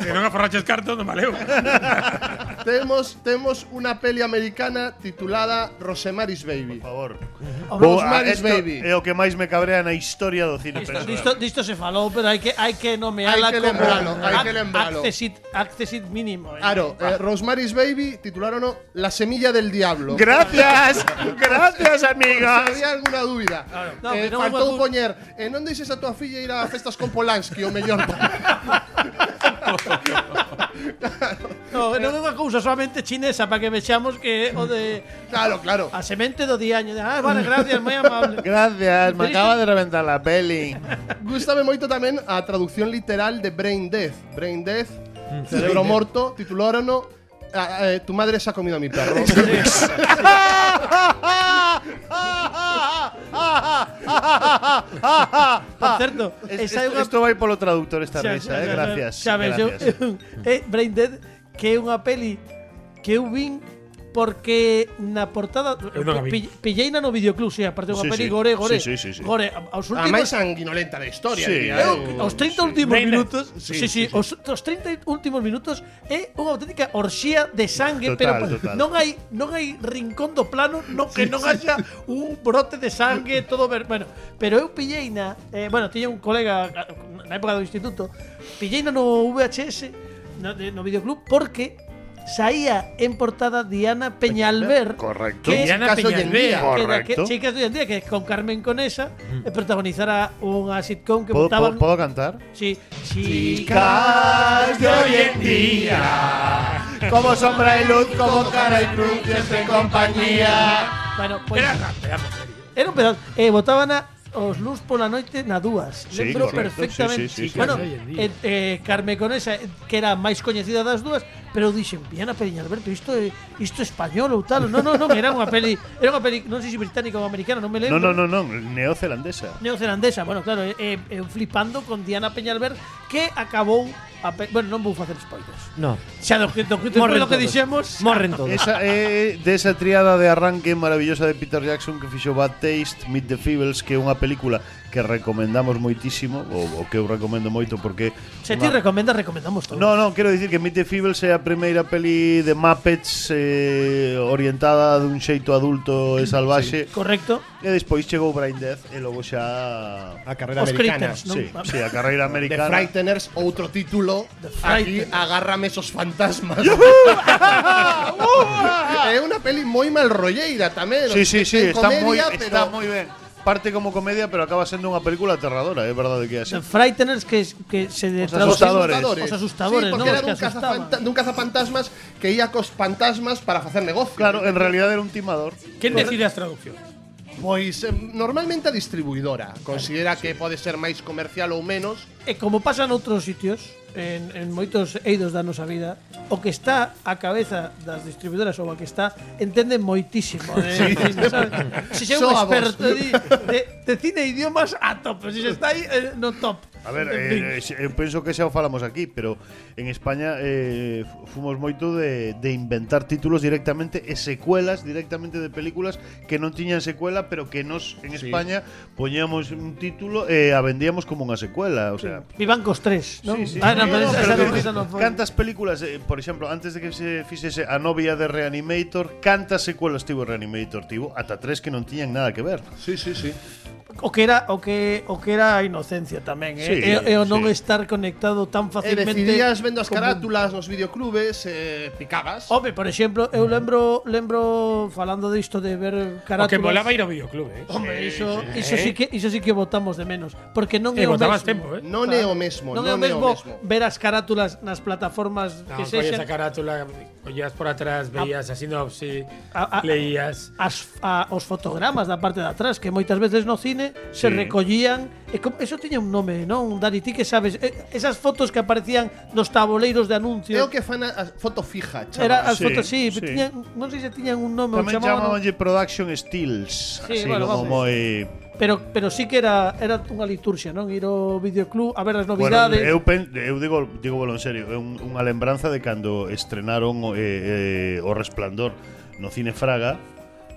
Speaker 6: si no aforraches Cartos, no valeo.
Speaker 7: temos, temos unha peli americana titulada Rosemary's Baby.
Speaker 3: Por favor.
Speaker 7: Vou-
Speaker 3: a-
Speaker 7: Rosemary's
Speaker 3: isto
Speaker 7: Baby.
Speaker 3: É o que máis me cabrea na historia do cine. pero
Speaker 2: Disto, disto se falou, pero hai que hai que nomeala
Speaker 7: Hai que
Speaker 2: como
Speaker 7: lembralo, hai
Speaker 2: ac-
Speaker 7: que lembralo.
Speaker 2: Accessit, accessit mínimo. eh.
Speaker 7: Claro, eh, Rosemary's Baby titularon La semilla del diablo.
Speaker 3: Gracias, gracias,
Speaker 7: <laughs>
Speaker 3: amigas.
Speaker 7: había alguna dúbida.
Speaker 2: Ah, No,
Speaker 7: eh,
Speaker 2: pero
Speaker 7: faltou
Speaker 2: unha-
Speaker 7: poñer, eh, non deixes a tua filla ir a festas con Polanski, o mellor.
Speaker 2: No, non é unha cousa solamente chinesa para que vexamos que é o de
Speaker 7: <laughs> claro, claro.
Speaker 2: a semente do diaño. de, Ah, vale, gracias, moi
Speaker 3: <laughs>
Speaker 2: amable.
Speaker 3: Gracias,
Speaker 2: me acaba
Speaker 3: de reventar la peli.
Speaker 7: Gústame moito tamén a traducción literal de Brain Death. Brain Death,
Speaker 2: Mm,
Speaker 7: cerebro morto, titulárono ah, eh, Tu madre se ha comido a
Speaker 2: <laughs>
Speaker 7: mi perro.
Speaker 2: Por certo, esa é unha
Speaker 3: Ah, Esto vai polo traductor esta risa, eh. Gracias.
Speaker 2: Xa ves, eu,
Speaker 7: <laughs>
Speaker 3: gracias.
Speaker 2: eh, Brain Dead, que é unha peli que eu vin porque na portada eh,
Speaker 6: Eu non a vi.
Speaker 2: pi- pilleina no videoclub, sí, aparte unha
Speaker 3: Sí,
Speaker 2: peli
Speaker 3: sí.
Speaker 2: gore, gore.
Speaker 3: Sí, sí, sí, sí.
Speaker 2: Gore, a- aos
Speaker 7: a
Speaker 2: últimos
Speaker 7: máis sanguinolenta da historia,
Speaker 3: Sí, eh.
Speaker 7: diría.
Speaker 3: eu-
Speaker 7: eu.
Speaker 2: Mm. Os 30 últimos
Speaker 6: Brain Dead.
Speaker 2: minutos, sí, sí, Os, os 30 últimos minutos é unha auténtica orxía de sangue,
Speaker 3: Total,
Speaker 2: pero
Speaker 3: total.
Speaker 2: non hai non hai rincón do plano no que non haxa un brote de sangue todo ver, bueno, pero eu pilleina, eh, bueno, tiña un colega ah, na época do instituto, pilleina no VHS, no, de- no videoclub porque saía en portada Diana Peñalver.
Speaker 3: Correcto.
Speaker 2: Que
Speaker 6: Diana
Speaker 7: caso hoy en
Speaker 6: Peñalver.
Speaker 7: día.
Speaker 2: Que era que
Speaker 3: Correcto. Mm.
Speaker 2: chicas de hoy en día que con Carmen Conesa eh, protagonizara unha sitcom que
Speaker 3: ¿Puedo,
Speaker 2: montaban
Speaker 3: puedo- puedo cantar?
Speaker 2: Sí.
Speaker 3: Chicas de hoy en día, como sombra y luz, como cara y cruz, siempre compañía.
Speaker 2: Bueno, pois
Speaker 6: Era una pedazo de serie.
Speaker 2: era un pedazo. Eh, votaban a os luz pola noite na dúas.
Speaker 3: Sí,
Speaker 2: Lembro
Speaker 3: correcto.
Speaker 2: perfectamente.
Speaker 3: Sí, sí, sí, sí.
Speaker 2: bueno,
Speaker 6: Hoy en día.
Speaker 2: eh, eh, Carme Conesa, eh, que era a máis coñecida das dúas, pero dixen, Viana Peña Alberto, isto é isto é español ou tal. Non, non, non, era unha peli, era unha peli, non sei se británica ou americana, non me
Speaker 3: No,
Speaker 2: lembro.
Speaker 3: no, no, no, neozelandesa.
Speaker 2: neozelandesa. Bueno, claro, eh, eh, eu flipando con Diana Peñalver que acabou a pe- bueno, non vou facer spoilers.
Speaker 5: No.
Speaker 2: Xa do que do que,
Speaker 5: Morren
Speaker 2: do que
Speaker 5: todos.
Speaker 2: dixemos.
Speaker 5: Morren todos.
Speaker 3: Esa é de esa triada de arranque maravillosa de Peter Jackson que fixo Bad Taste, Meet the Feebles, que é unha película que recomendamos moitísimo, ou, ou que eu recomendo moito porque
Speaker 2: Se ti
Speaker 3: unha-
Speaker 2: recomendas, recomendamos todos.
Speaker 3: No, no, quero dicir que Meet the Feebles é a primeira peli de Muppets eh, orientada dun xeito adulto e salvaxe.
Speaker 2: Correcto.
Speaker 3: E despois chegou Brain Death e logo xa
Speaker 7: A carrera
Speaker 2: Os
Speaker 7: americana.
Speaker 2: Critters, non?
Speaker 3: Sí, sí, a carreira
Speaker 7: The
Speaker 3: americana.
Speaker 7: Frighteners, outro título. Aquí,
Speaker 2: Frighteners.
Speaker 7: agárrame esos fantasmas. <laughs> é unha peli moi mal rolleira tamén.
Speaker 3: Sí, sí, sí,
Speaker 7: Ten
Speaker 3: está
Speaker 7: comedia,
Speaker 3: moi,
Speaker 7: pero-
Speaker 3: está moi ben. Parte como comedia, pero acaba sendo unha película aterradora, é verdade que é así.
Speaker 2: The Eh, Frighteners que, que se de-
Speaker 3: Os
Speaker 7: Los
Speaker 2: traduce-
Speaker 3: asustadores.
Speaker 2: Os asustadores,
Speaker 7: sí,
Speaker 2: ¿no?
Speaker 7: porque era
Speaker 2: Los
Speaker 7: dun,
Speaker 2: que asustaban.
Speaker 7: cazafanta- dun cazafantasmas que ia cos fantasmas para facer negocio.
Speaker 3: Claro, en realidad era un timador.
Speaker 6: ¿Quién decide las traducciones?
Speaker 7: Pois eh, normalmente a distribuidora considera que pode ser máis comercial ou menos,
Speaker 2: E eh, como pasa noutros sitios, en, en moitos eidos da nosa vida, o que está a cabeza das distribuidoras ou a que está entende moitísimo de sí. cine, sabes? Se é un
Speaker 7: Só a vos.
Speaker 2: experto de, de, de cine e idiomas a top, se está aí eh, no top.
Speaker 3: A ver,
Speaker 2: En fin.
Speaker 3: eh, eh, eu penso que xa o falamos aquí, pero en España eh, fu- fumos moito de, de inventar títulos directamente e secuelas directamente de películas que non tiñan secuela, pero que nos en
Speaker 7: Sí.
Speaker 3: España poñíamos un título e a vendíamos como unha secuela, o sea,
Speaker 2: Vivancos 3, non?
Speaker 3: Sí, sí.
Speaker 2: Ah, non, pero
Speaker 3: No,
Speaker 2: esa,
Speaker 3: pero
Speaker 2: esa
Speaker 3: que-
Speaker 2: noticia non foi.
Speaker 3: cantas películas, eh, por exemplo, antes de que se fixese a novia de Reanimator, cantas secuelas tivo Reanimator, tivo ata tres que non tiñan nada que ver.
Speaker 7: Sí, sí, sí.
Speaker 2: O que era o que o que era a inocencia tamén, eh?
Speaker 3: Sí,
Speaker 2: e, e o non
Speaker 3: sí.
Speaker 2: estar conectado tan
Speaker 7: E
Speaker 2: facilmente.
Speaker 7: decidías vendo as
Speaker 2: como-
Speaker 7: carátulas nos videoclubes, eh, picabas.
Speaker 2: Home, por exemplo, eu lembro lembro falando disto de ver
Speaker 6: O
Speaker 2: carátulas.
Speaker 6: que volaba ir ao videoclub, eh.
Speaker 2: Hombre, iso, iso, sí que, iso sí que votamos de menos. Porque non
Speaker 6: E
Speaker 2: é o
Speaker 6: botabas
Speaker 2: mesmo.
Speaker 6: tempo, eh.
Speaker 7: Non é o mesmo,
Speaker 2: non é o mesmo, ver as carátulas nas plataformas
Speaker 6: No,
Speaker 2: que
Speaker 6: oías
Speaker 2: sexan
Speaker 6: a carátula, oías por atrás, veías a sinopsis,
Speaker 2: A- a-
Speaker 6: ah. leías.
Speaker 2: as, a, os fotogramas da parte de atrás que moitas veces no cine se
Speaker 3: Sí.
Speaker 2: recollían e com, eso tiña un nome, non? Dani, ti que sabes eh, esas fotos que aparecían nos taboleiros de anuncios
Speaker 7: Creo que fan a, a foto fija, chaval.
Speaker 2: era as
Speaker 3: Sí,
Speaker 2: fotos, sí,
Speaker 3: sí.
Speaker 2: Tiñan, non sei se tiñan un nome ou
Speaker 3: Tamén
Speaker 2: chamaban,
Speaker 3: chamábanlle Production Stills,
Speaker 2: Sí,
Speaker 3: así
Speaker 2: bueno,
Speaker 3: como
Speaker 2: vamos.
Speaker 3: moi
Speaker 2: pero pero sí que era era unha liturxia, non? Ir ao videoclub a ver as
Speaker 3: Bueno,
Speaker 2: novidades.
Speaker 3: eu, pen, eu digo, digo bolo en serio, é un, unha lembranza de cando estrenaron o- eh, eh, O Resplandor no Cine Fraga,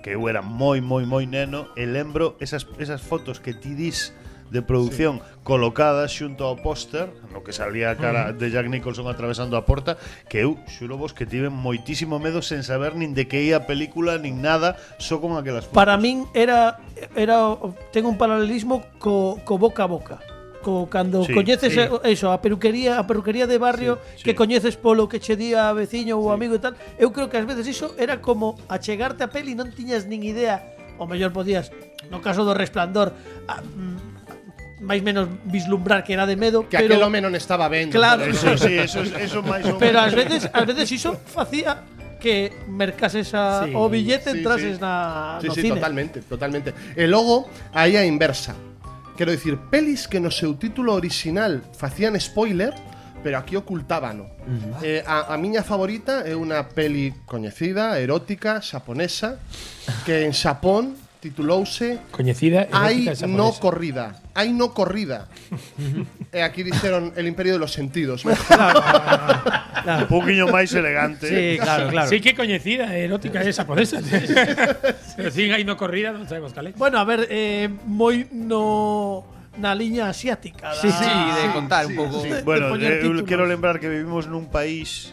Speaker 3: que eu era moi, moi, moi neno, e lembro esas, esas fotos que ti dis de producción sí. colocadas xunto ao póster no que salía a cara de Jack Nicholson atravesando a porta que eu xuro vos que tive moitísimo medo sen saber nin de que ia a película nin nada só con aquelas fotos
Speaker 2: para min era era o- ten un paralelismo co, co boca a boca. Co cando
Speaker 3: Sí,
Speaker 2: sí, coñeces
Speaker 3: sí.
Speaker 2: sí. eso, a peruquería, a peruquería de barrio
Speaker 3: Sí,
Speaker 2: sí,
Speaker 3: sí.
Speaker 2: sí. que coñeces polo que che día veciño ou sí. amigo e tal, eu creo que ás veces iso era como achegarte a peli e non tiñas nin idea, ou mellor podías, no caso do Resplandor, a, mm, máis menos vislumbrar que era de medo,
Speaker 7: Que
Speaker 2: pero
Speaker 7: aquel home non estaba vendo.
Speaker 2: Claro.
Speaker 7: joder.
Speaker 3: Eso, sí, eso, eso máis ou
Speaker 2: pero ás
Speaker 3: menos.
Speaker 2: veces ás veces iso facía que mercases a, sí,
Speaker 6: Sí,
Speaker 2: o billete
Speaker 7: sí,
Speaker 2: entrases
Speaker 7: sí.
Speaker 2: na Ah,
Speaker 7: Sí,
Speaker 2: no
Speaker 7: sí,
Speaker 2: cine.
Speaker 7: totalmente, totalmente. E logo, aí a inversa. Quero dicir, pelis que no seu título original facían spoiler, pero aquí ocultábano. Eh, a, a miña favorita é unha peli coñecida, erótica, xaponesa, que en Xapón titulouse
Speaker 6: Coñecida.
Speaker 7: Hay
Speaker 6: erótica e
Speaker 7: no
Speaker 6: japonesa.
Speaker 7: corrida. Hay no
Speaker 2: <laughs>
Speaker 7: corrida. E aquí dijeron el imperio de los sentidos.
Speaker 3: un poquinho máis elegante.
Speaker 5: Sí, claro, claro.
Speaker 6: Sí que coñecida, erótica e japonesa. <laughs> Pero sin aí no corrida, non sabemos cal é.
Speaker 2: Bueno, a ver, eh, moi no na liña asiática. da-
Speaker 4: Sí, sí, de contar un pouco.
Speaker 2: de- de
Speaker 3: Bueno,
Speaker 2: poñer
Speaker 3: eu
Speaker 2: títulos.
Speaker 3: quero lembrar que vivimos nun país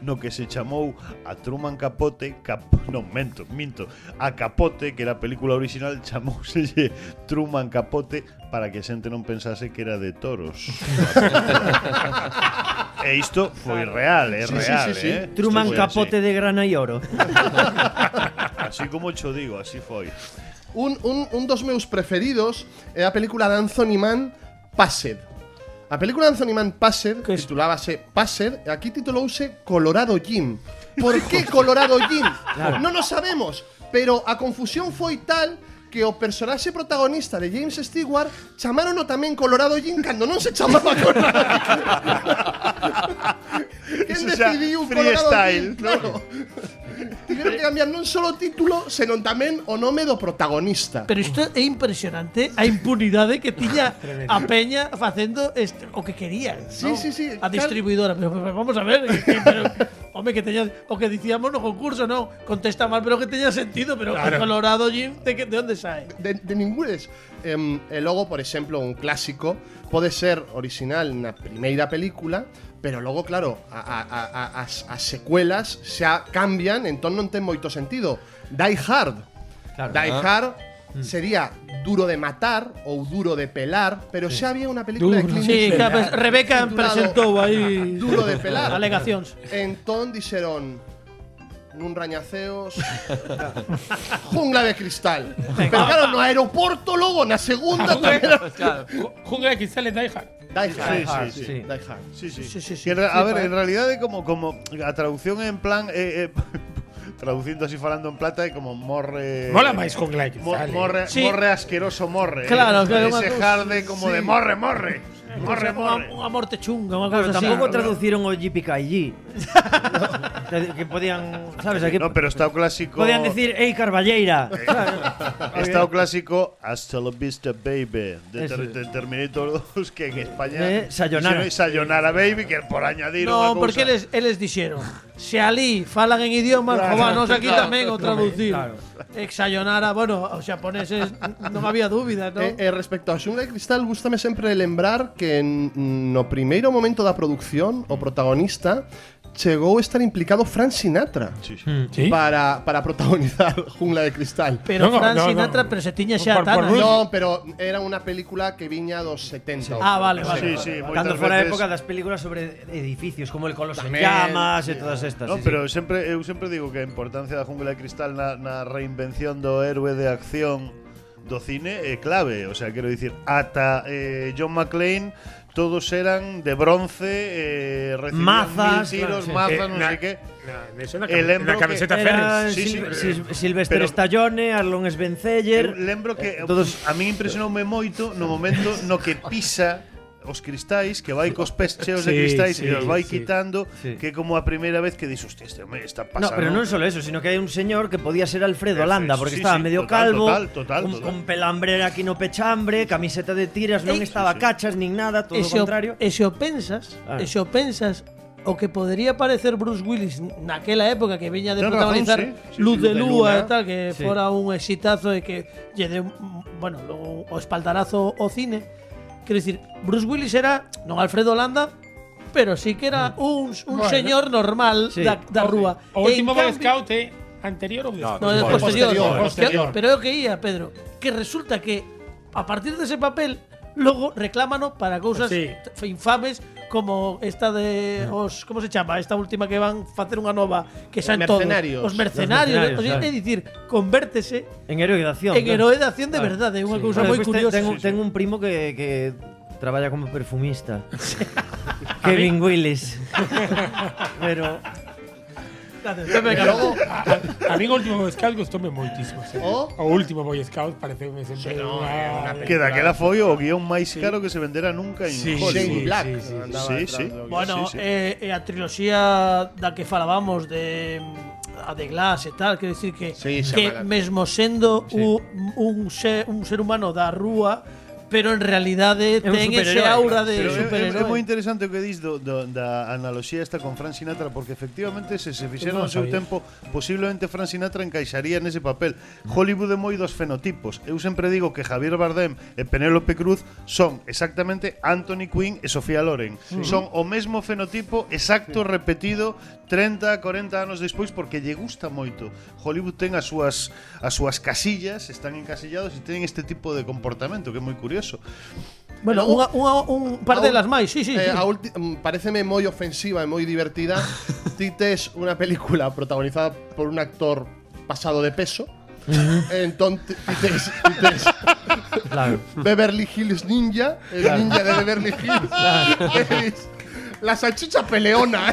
Speaker 3: no que se chamou a Truman Capote, cap, non, mento, minto, a Capote, que era a película original, chamouselle Truman Capote para que a xente non pensase que era de toros. e isto foi real, é
Speaker 7: Sí, sí,
Speaker 3: real,
Speaker 7: sí, sí.
Speaker 3: eh. Isto
Speaker 5: Truman
Speaker 3: foi
Speaker 5: Capote de grana y oro.
Speaker 3: Así, así como cho digo, así foi.
Speaker 7: un, un, un dos meus preferidos é a película de Anthony Mann, Passed. A película de Anthony Mann, Passed,
Speaker 2: Que es-
Speaker 7: titulábase Passed, e aquí titulouse Colorado Jim. Por que Colorado Jim? Non o sabemos, pero a confusión foi tal que o personaxe protagonista de James Stewart chamarono tamén Colorado Jim cando non se chamaba Colorado Jim. Quen
Speaker 3: Eso xa
Speaker 7: decidiu Colorado
Speaker 3: freestyle,
Speaker 7: Jim? Claro. Tiveron que cambiar non só o título, senón tamén o nome do protagonista.
Speaker 2: Ah. Pero isto é impresionante a impunidade que tiña
Speaker 4: <laughs>
Speaker 2: a Peña facendo este, o que querían.
Speaker 7: Sí,
Speaker 2: non?
Speaker 7: sí, sí,
Speaker 2: A
Speaker 7: claro.
Speaker 2: distribuidora. Pero, pero vamos a ver. <laughs> que- que- pero, home, que teña, o que dicíamos no concurso, non. Contesta mal, pero que teña sentido. Pero
Speaker 6: Claro.
Speaker 2: Colorado Jim, de, que- de onde sae?
Speaker 7: De, de ningún es. Em, e logo, por exemplo, un clásico pode ser original na primeira película, pero logo, claro, a, a, a, a, as, as secuelas xa cambian, entón non ten moito sentido. Die Hard.
Speaker 5: Claro.
Speaker 7: Die Hard sería duro de matar ou duro de pelar, pero xa había unha película de
Speaker 6: Duro.
Speaker 7: Clint
Speaker 2: Sí,
Speaker 7: Eastwood
Speaker 2: claro, pues, Rebeca
Speaker 7: titulado
Speaker 2: presentou aí
Speaker 7: Duro de pelar.
Speaker 2: alegacións.
Speaker 7: Entón dixeron nun rañaceos jungla de cristal. Pero claro, no aeroporto logo na segunda tamén era
Speaker 4: Claro.
Speaker 6: Ju- Jungla de cristales Die Hard.
Speaker 7: Die Hard.
Speaker 3: Sí, Ah, sí, sí.
Speaker 7: Die Hard.
Speaker 3: Sí, sí.
Speaker 2: Sí, sí, sí.
Speaker 3: Que en re- a
Speaker 2: Sí,
Speaker 3: ver,
Speaker 2: pa-
Speaker 3: en realidad é como como a traducción en plan eh, <laughs> eh, traducindo así falando en plata é como morre
Speaker 6: Mola máis con Gladys.
Speaker 3: Mo-
Speaker 6: dale.
Speaker 3: morre,
Speaker 2: Sí.
Speaker 3: morre asqueroso morre.
Speaker 2: Claro,
Speaker 3: eh.
Speaker 2: claro,
Speaker 3: Ese
Speaker 2: una-
Speaker 3: jarde como de morre, morre. Morre, morre.
Speaker 2: Unha morte chunga, unha
Speaker 5: Claro,
Speaker 2: cosa así.
Speaker 5: tampoco traducieron o GPKG. que podían, ¿sabes? Aquí
Speaker 3: No, pero Eh, está o clásico.
Speaker 5: podían decir, ¡Ey, Carballeira!
Speaker 3: Está o clásico Hasta la vista, baby. De,
Speaker 5: Eso
Speaker 3: ter,
Speaker 5: es.
Speaker 3: de Terminator 2, que en España.
Speaker 5: Eh, sayonara.
Speaker 3: hicieron Sayonara, baby, que por añadir.
Speaker 2: No,
Speaker 3: unha
Speaker 2: porque
Speaker 3: cousa.
Speaker 2: eles, eles dixeron Se alí falan en idiomas
Speaker 3: Claro,
Speaker 2: claro, Jobanos aquí
Speaker 3: claro,
Speaker 2: tamén o traducir claro. Exayonara, bueno, os xaponeses Non había dúbida, non?
Speaker 7: E, e respecto a Xungla de Cristal, gustame sempre lembrar que n- no primeiro momento da produción, o protagonista chegou a estar implicado Fran Sinatra
Speaker 3: Sí, sí.
Speaker 2: Hmm.
Speaker 6: Sí?
Speaker 7: para, para protagonizar <laughs> Jungla de Cristal.
Speaker 2: Pero
Speaker 6: No, no,
Speaker 2: Fran
Speaker 6: no, no.
Speaker 2: Sinatra, pero se tiña xa a
Speaker 6: Por- por
Speaker 2: Tana
Speaker 6: Rusia.
Speaker 7: No, pero era una película que viña dos 70.
Speaker 2: Ah, vale, vale
Speaker 3: Sí,
Speaker 2: vale.
Speaker 3: sí, moitas
Speaker 5: Cando fora a
Speaker 3: veces-
Speaker 5: época das películas sobre edificios, como el Coloso en
Speaker 7: Tamén,
Speaker 5: Llamas
Speaker 7: sí.
Speaker 5: e todas estas.
Speaker 3: No,
Speaker 5: sí, sí.
Speaker 3: pero sempre eu sempre digo que a importancia da jungla de cristal na, na reinvención do héroe de acción do cine é clave, o sea, quero dicir, ata eh, John McClane todos eran de bronce, eh, recibían
Speaker 5: Mazas,
Speaker 3: mil tiros,
Speaker 5: claro, sí.
Speaker 3: mazas,
Speaker 6: Eh,
Speaker 3: non
Speaker 6: na-
Speaker 3: sei que.
Speaker 6: na- eso na
Speaker 3: El
Speaker 6: cami-
Speaker 3: hembro
Speaker 6: na
Speaker 3: que-
Speaker 6: camiseta
Speaker 5: Eran
Speaker 6: Ferris.
Speaker 3: sí,
Speaker 5: Sil-
Speaker 3: sí,
Speaker 5: Sil- Sylvester
Speaker 3: pero-
Speaker 5: Stallone, Arlon
Speaker 3: Eu
Speaker 5: Svenzeyer.
Speaker 3: lembro que
Speaker 5: Eh,
Speaker 3: eh,
Speaker 5: todos-
Speaker 3: a mí impresionoume moito no momento no que pisa os cristais, que vai cos pés cheos de
Speaker 6: Sí,
Speaker 3: cristais
Speaker 6: sí,
Speaker 3: e os vai
Speaker 6: sí.
Speaker 3: quitando,
Speaker 5: Sí.
Speaker 3: que como a primeira vez que dis, hostia, este hombre está
Speaker 5: No,
Speaker 3: pasando.
Speaker 5: pero non solo eso, sino que hai un señor que podía ser
Speaker 3: Eso
Speaker 5: Alfredo Landa,
Speaker 3: es, sí,
Speaker 5: porque
Speaker 3: sí,
Speaker 5: estaba medio
Speaker 3: total,
Speaker 5: calvo,
Speaker 3: total, total,
Speaker 5: con,
Speaker 3: total.
Speaker 5: con pelambrera aquí no pechambre, camiseta de tiras, non estaba cachas nin nada, todo
Speaker 2: E
Speaker 5: o
Speaker 2: se o,
Speaker 5: contrario.
Speaker 2: e se o pensas
Speaker 5: Ah.
Speaker 2: E se o pensas O que podría parecer Bruce Willis naquela época que viña de
Speaker 3: Ten
Speaker 2: protagonizar
Speaker 3: razón, sí. Sí,
Speaker 2: Luz
Speaker 3: sí,
Speaker 2: de
Speaker 3: Luz de
Speaker 2: Lúa
Speaker 3: Luna.
Speaker 2: e tal Que
Speaker 5: Sí.
Speaker 2: fora un exitazo E que lle deu, mm, bueno, logo o espaldarazo o cine Quero dicir, Bruce Willis era Non Alfredo Landa Pero sí que era un, un
Speaker 6: Bueno.
Speaker 2: señor normal
Speaker 5: Sí.
Speaker 2: da, da rúa
Speaker 6: O
Speaker 2: E,
Speaker 6: último
Speaker 2: en
Speaker 6: Boy
Speaker 2: cambio-
Speaker 6: Scout é anterior ou despois?
Speaker 2: No, es posterior.
Speaker 8: Bueno,
Speaker 6: posterior,
Speaker 2: Que-
Speaker 6: posterior.
Speaker 2: pero é o que ía, Pedro, que resulta que a partir de ese papel logo reclámano para cousas
Speaker 6: Sí.
Speaker 2: t- infames como esta de os como se chama, esta última que van facer unha nova que saen todos.
Speaker 7: mercenarios.
Speaker 2: Os mercenarios,
Speaker 5: Los mercenarios,
Speaker 2: o sea,
Speaker 5: claro.
Speaker 2: é dicir, convértese
Speaker 5: En héroe de acción.
Speaker 2: en
Speaker 5: claro.
Speaker 2: heroe de acción de verdade, é unha cousa moi
Speaker 5: Despois pues te-
Speaker 2: curiosa.
Speaker 5: Tengo, tengo un primo que, que traballa
Speaker 2: <laughs>
Speaker 5: como perfumista. Kevin Willis. Pero
Speaker 2: Venga,
Speaker 7: Logo,
Speaker 6: A mí o último Boy Scout gustoume moitísimo. serio. O
Speaker 7: O?
Speaker 6: último Boy Scout pareceume sempre unha
Speaker 3: Que daquela foi o guión máis caro que se vendera nunca en
Speaker 6: Sí,
Speaker 3: Hollywood.
Speaker 7: Shane
Speaker 6: sí,
Speaker 7: Black.
Speaker 6: sí, sí.
Speaker 7: andaba
Speaker 3: Sí,
Speaker 7: detrás
Speaker 3: sí.
Speaker 7: do-
Speaker 2: Bueno,
Speaker 3: Sí, sí.
Speaker 2: eh, eh, a triloxía da que falábamos de mm, a de Glass e tal, quero dicir que
Speaker 7: Sí, xa
Speaker 2: que
Speaker 7: me la-
Speaker 2: mesmo sendo un, un ser un ser humano da rúa, pero en realidade
Speaker 5: É un
Speaker 2: ten ese
Speaker 5: superheroe.
Speaker 2: aura de
Speaker 3: Pero é, é, é moi
Speaker 2: superheroe.
Speaker 3: interesante o que dis do, do, da analogía esta con Fran Sinatra porque efectivamente se se fixera no
Speaker 6: Non
Speaker 3: seu
Speaker 6: sabía.
Speaker 3: tempo posiblemente Fran Sinatra encaixaría nese papel Hollywood é moi dos fenotipos eu sempre digo que Javier Bardem e Penélope Cruz son exactamente Anthony Quinn e Sofía Loren son o mesmo fenotipo exacto repetido 30, 40 anos despois porque lle gusta moito Hollywood ten as súas as súas casillas están encasillados e teñen este tipo de comportamento que é moi curioso
Speaker 2: Bueno,
Speaker 7: Logo-
Speaker 2: unha, unha, un par de
Speaker 7: Aún-
Speaker 2: las máis, sí, sí. sí.
Speaker 7: eh, a ulti- mm, paréceme muy ofensiva y muy divertida. Tite es una película protagonizada por un actor pasado de
Speaker 2: <laughs>
Speaker 7: peso. Entonces, Tite es- Tite es
Speaker 5: claro.
Speaker 7: Beverly Hills Ninja, el ninja de Beverly Hills. Es la salchicha peleona.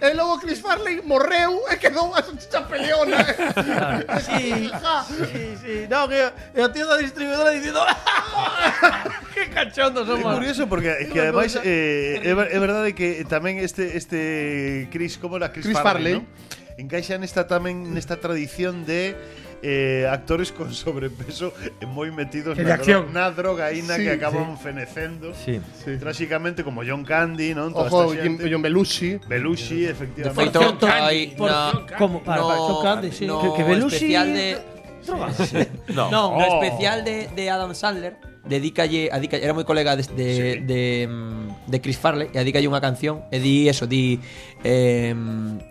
Speaker 7: El lobo Chris Farley morreu e quedou a salchicha peleona.
Speaker 2: <laughs> Sí, sí, sí. No, que que o tío da distribuidora <laughs> dicindo Que cachondos
Speaker 3: É
Speaker 2: somos.
Speaker 3: curioso porque é que
Speaker 7: Unha
Speaker 3: ademais
Speaker 7: cousa
Speaker 3: eh, é, ver- é verdade que tamén este este Chris como era Chris,
Speaker 7: Chris
Speaker 3: Farley,
Speaker 7: Farley.
Speaker 3: ¿no? encaixa nesta tamén nesta tradición de eh, actores con sobrepeso e moi metidos
Speaker 6: Que de
Speaker 3: na, dro
Speaker 6: acción.
Speaker 3: na drogaína
Speaker 7: Sí,
Speaker 3: que acaban fenecendo
Speaker 5: Sí.
Speaker 3: tráxicamente como John Candy, non? Toda
Speaker 7: Ojo,
Speaker 3: esta
Speaker 7: Jim,
Speaker 3: xente.
Speaker 7: John Belushi.
Speaker 3: Belushi,
Speaker 2: Por
Speaker 3: efectivamente.
Speaker 4: Feito,
Speaker 2: cierto,
Speaker 4: hai
Speaker 2: por-
Speaker 4: na-
Speaker 5: Como para, para.
Speaker 4: no,
Speaker 2: Candy, sí.
Speaker 4: no
Speaker 5: Que- que Belushi-
Speaker 4: especial de
Speaker 5: Drogas.
Speaker 2: No.
Speaker 4: no, no
Speaker 3: Oh.
Speaker 4: especial de, de Adam Sandler dedícalle, adícalle- era moi colega de, de, de, mm, de Chris Farley e adícalle unha canción e di eso, di eh,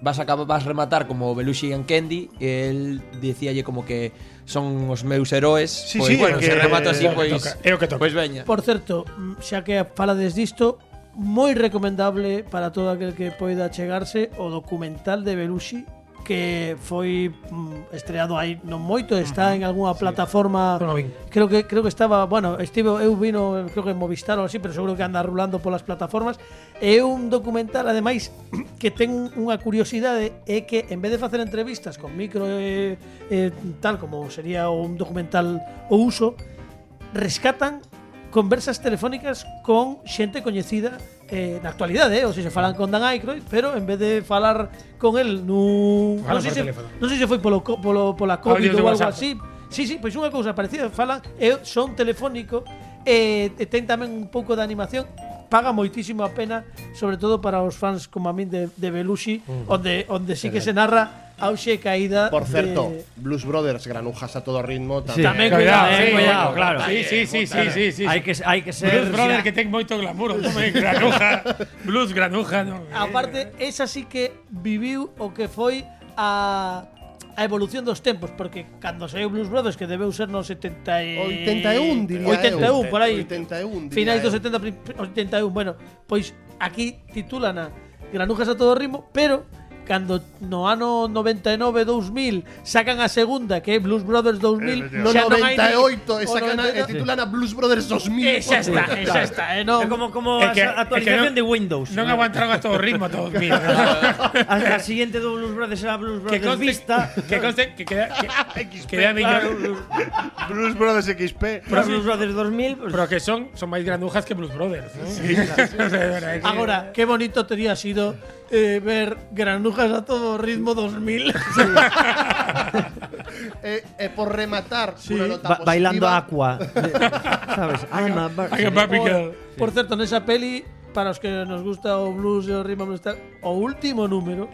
Speaker 4: vas a acabar- vas rematar como Belushi and Candy e el dicíalle como que son os meus heroes
Speaker 3: Sí,
Speaker 4: pois,
Speaker 3: sí,
Speaker 4: bueno,
Speaker 3: é que-
Speaker 4: se remato así, pues,
Speaker 3: é o que
Speaker 4: pois
Speaker 6: toca, é o pues. que toca.
Speaker 5: Pues,
Speaker 4: pois veña
Speaker 2: Por certo, mm, xa que falades disto, moi recomendable para todo aquel que poida chegarse o documental de Belushi que foi mm, estreado aí non moito, está en algunha plataforma.
Speaker 9: Eu non vin.
Speaker 2: Creo que creo que estaba, bueno, estive eu vino, creo que en Movistar ou así, pero seguro que anda rulando polas plataformas. É un documental ademais que ten unha curiosidade é que en vez de facer entrevistas con micro e, e tal como sería un documental o uso, rescatan conversas telefónicas con xente coñecida eh, na actualidade, eh? ou seja, falan con Dan Aykroyd, pero en vez de falar con el nun...
Speaker 9: Falan
Speaker 2: non sei
Speaker 9: por
Speaker 2: se,
Speaker 9: teléfono.
Speaker 2: non sei se foi polo, co- polo, pola COVID
Speaker 9: Audios de
Speaker 2: ou algo
Speaker 9: WhatsApp.
Speaker 2: así. Sí, sí, pois unha cousa parecida, falan, eh, son telefónico, eh, e ten tamén un pouco de animación, paga moitísimo a pena, sobre todo para os fans como a min de, de Belushi,
Speaker 9: Mm.
Speaker 2: onde, onde sí que se narra a auxe e caída
Speaker 7: Por cierto,
Speaker 2: de,
Speaker 7: Blues Brothers, granujas a todo ritmo.
Speaker 5: Sí.
Speaker 2: Tamén
Speaker 7: también.
Speaker 5: Cuidado,
Speaker 2: cuidado,
Speaker 5: eh,
Speaker 2: eh,
Speaker 5: cuidado, claro.
Speaker 6: Sí, sí, sí, sí, sí, sí.
Speaker 5: Hay que, hay que ser.
Speaker 6: Blues Brother
Speaker 5: si-
Speaker 6: que ten moito glamour, home, <laughs> granuja, blues granuja, non.
Speaker 2: Aparte, esa sí que viviu o que foi a, a evolución dos tempos, porque cando saiu Blues Brothers, que debeu ser no 70 e...
Speaker 7: 81, diría eu.
Speaker 2: 81, por aí.
Speaker 7: 81, diría
Speaker 2: Finais dos
Speaker 7: eu.
Speaker 2: 70, prin- 81. Bueno, pois aquí titulan a Granujas a todo ritmo, pero cando no ano 99, 2000 sacan a segunda, que é Blues Brothers 2000,
Speaker 7: No,
Speaker 2: xa non hai ni-
Speaker 7: 98,
Speaker 2: o
Speaker 7: esa cana e
Speaker 2: 99.
Speaker 7: titulan a Blues Brothers 2000.
Speaker 2: Esa Eh, está, esa está, eh, non.
Speaker 5: É como, como
Speaker 6: É que-
Speaker 5: a- actualización
Speaker 6: é
Speaker 5: de
Speaker 6: que no-
Speaker 5: Windows.
Speaker 6: Non
Speaker 5: <laughs>
Speaker 6: aguantaron a todo ritmo todos mil.
Speaker 5: A, a siguiente do Blues Brothers era Blues
Speaker 6: Que
Speaker 5: Brothers
Speaker 6: conste,
Speaker 5: Vista.
Speaker 6: que conste que queda que, queda
Speaker 5: Claro,
Speaker 6: miño,
Speaker 5: Blues-
Speaker 3: Blues Brothers XP.
Speaker 5: Blues, Brothers 2000. pues,
Speaker 6: pero que son son máis granujas que Blues Brothers, non? Sí, <laughs> sí.
Speaker 2: Ahora, qué bonito tenía sido eh, ver granujas a todo ritmo <laughs> 2000.
Speaker 7: Eh, eh, por rematar, una nota
Speaker 5: ba- bailando
Speaker 7: positiva.
Speaker 5: Aqua. ¿Sabes? I'm a bar-
Speaker 6: Hay que papi
Speaker 2: por, por cierto, en esa peli, para los que nos gusta o blues e o ritmo blues tal, o último número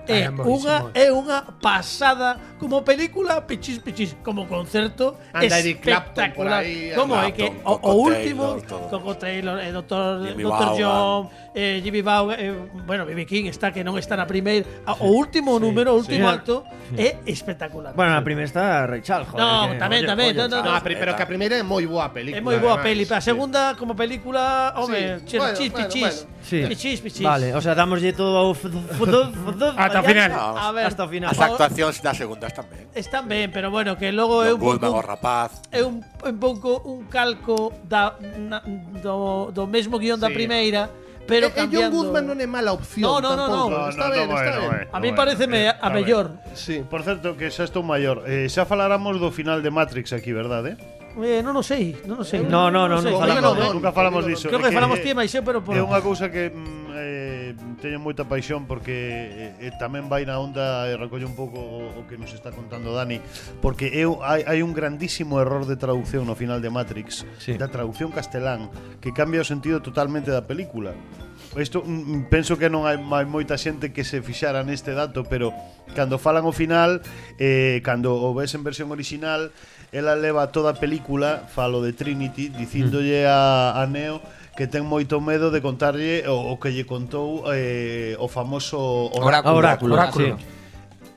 Speaker 7: Ah,
Speaker 2: é
Speaker 9: Caramba,
Speaker 2: unha,
Speaker 9: buenísimo.
Speaker 2: é unha pasada como película pichis pichis como concerto
Speaker 7: Anda Eric Clapton por
Speaker 2: espectacular
Speaker 7: aí,
Speaker 2: como é
Speaker 8: Clapton,
Speaker 2: que o, o
Speaker 8: Coco
Speaker 2: último
Speaker 8: Taylor, todo.
Speaker 2: Coco Taylor eh, Dr.
Speaker 8: Jimmy
Speaker 2: Dr.
Speaker 8: Vaughan.
Speaker 2: John eh, Jimmy Vaughan eh, bueno BB King está que non está na primeira a- o último número o último
Speaker 5: sí.
Speaker 2: acto é espectacular
Speaker 5: Bueno, la primera está Rachel, joder.
Speaker 2: No,
Speaker 5: que-
Speaker 2: tamén,
Speaker 5: oye,
Speaker 2: tamén,
Speaker 5: oye,
Speaker 2: no, no,
Speaker 7: No, pri- pero que a primera es muy buena
Speaker 2: É
Speaker 7: película.
Speaker 2: moi boa
Speaker 7: además.
Speaker 2: peli, a segunda como película, home, chis,
Speaker 7: Sí, bueno,
Speaker 2: chis,
Speaker 7: bueno,
Speaker 2: pichis.
Speaker 7: bueno.
Speaker 5: Sí.
Speaker 2: Pichis, pichis.
Speaker 5: Vale, o sea, damos de todo ao f- f- do- f- do- allá.
Speaker 6: Hasta final.
Speaker 8: Vamos.
Speaker 2: A ver,
Speaker 5: Hasta o final.
Speaker 8: Las actuaciones das segundas también.
Speaker 2: Están ben, pero bueno, que logo é Oh,
Speaker 8: John
Speaker 2: eh, un pouco
Speaker 8: Goodman, o rapaz.
Speaker 2: é un, un pouco un calco da na, do, do mesmo guión da
Speaker 7: Sí.
Speaker 2: primeira, pero
Speaker 7: Eh, eh, John
Speaker 2: cambiando.
Speaker 7: Goodman no es mala opción.
Speaker 2: No, no, no,
Speaker 7: tampoco.
Speaker 2: no.
Speaker 7: Está bien, está bien.
Speaker 2: A mí
Speaker 5: eh,
Speaker 2: pareceme a mellor.
Speaker 7: Sí.
Speaker 3: Por certo, que xa estou maior. Eh, xa faláramos do final de Matrix aquí, verdade?
Speaker 2: Eh, non o sei, non o sei.
Speaker 5: No, no, no,
Speaker 2: sei,
Speaker 5: no
Speaker 2: creo que
Speaker 5: falamos,
Speaker 2: non,
Speaker 5: eh,
Speaker 2: eh.
Speaker 3: nunca falamos diso.
Speaker 2: Creo
Speaker 3: É
Speaker 2: que
Speaker 3: que- eh,
Speaker 2: falamos ti e máis eu, pero por
Speaker 3: É unha cousa que mm, eh, teño moita paixón porque eh, eh, tamén vai na onda e recolle un pouco o, o que nos está contando Dani porque eu hai, hai un grandísimo error de traducción no final de Matrix
Speaker 5: Sí.
Speaker 3: da traducción castelán que cambia o sentido totalmente da película Isto mm, penso que non hai, hai moita xente que se fixara neste dato, pero cando falan o final, eh, cando o ves en versión original, ela leva toda a película, falo de Trinity, dicíndolle a, a Neo que ten moito medo de contarlle o, o que lle contou eh, o famoso orá-
Speaker 4: Oráculo.
Speaker 5: Oráculo,
Speaker 4: Oráculo.
Speaker 5: sí.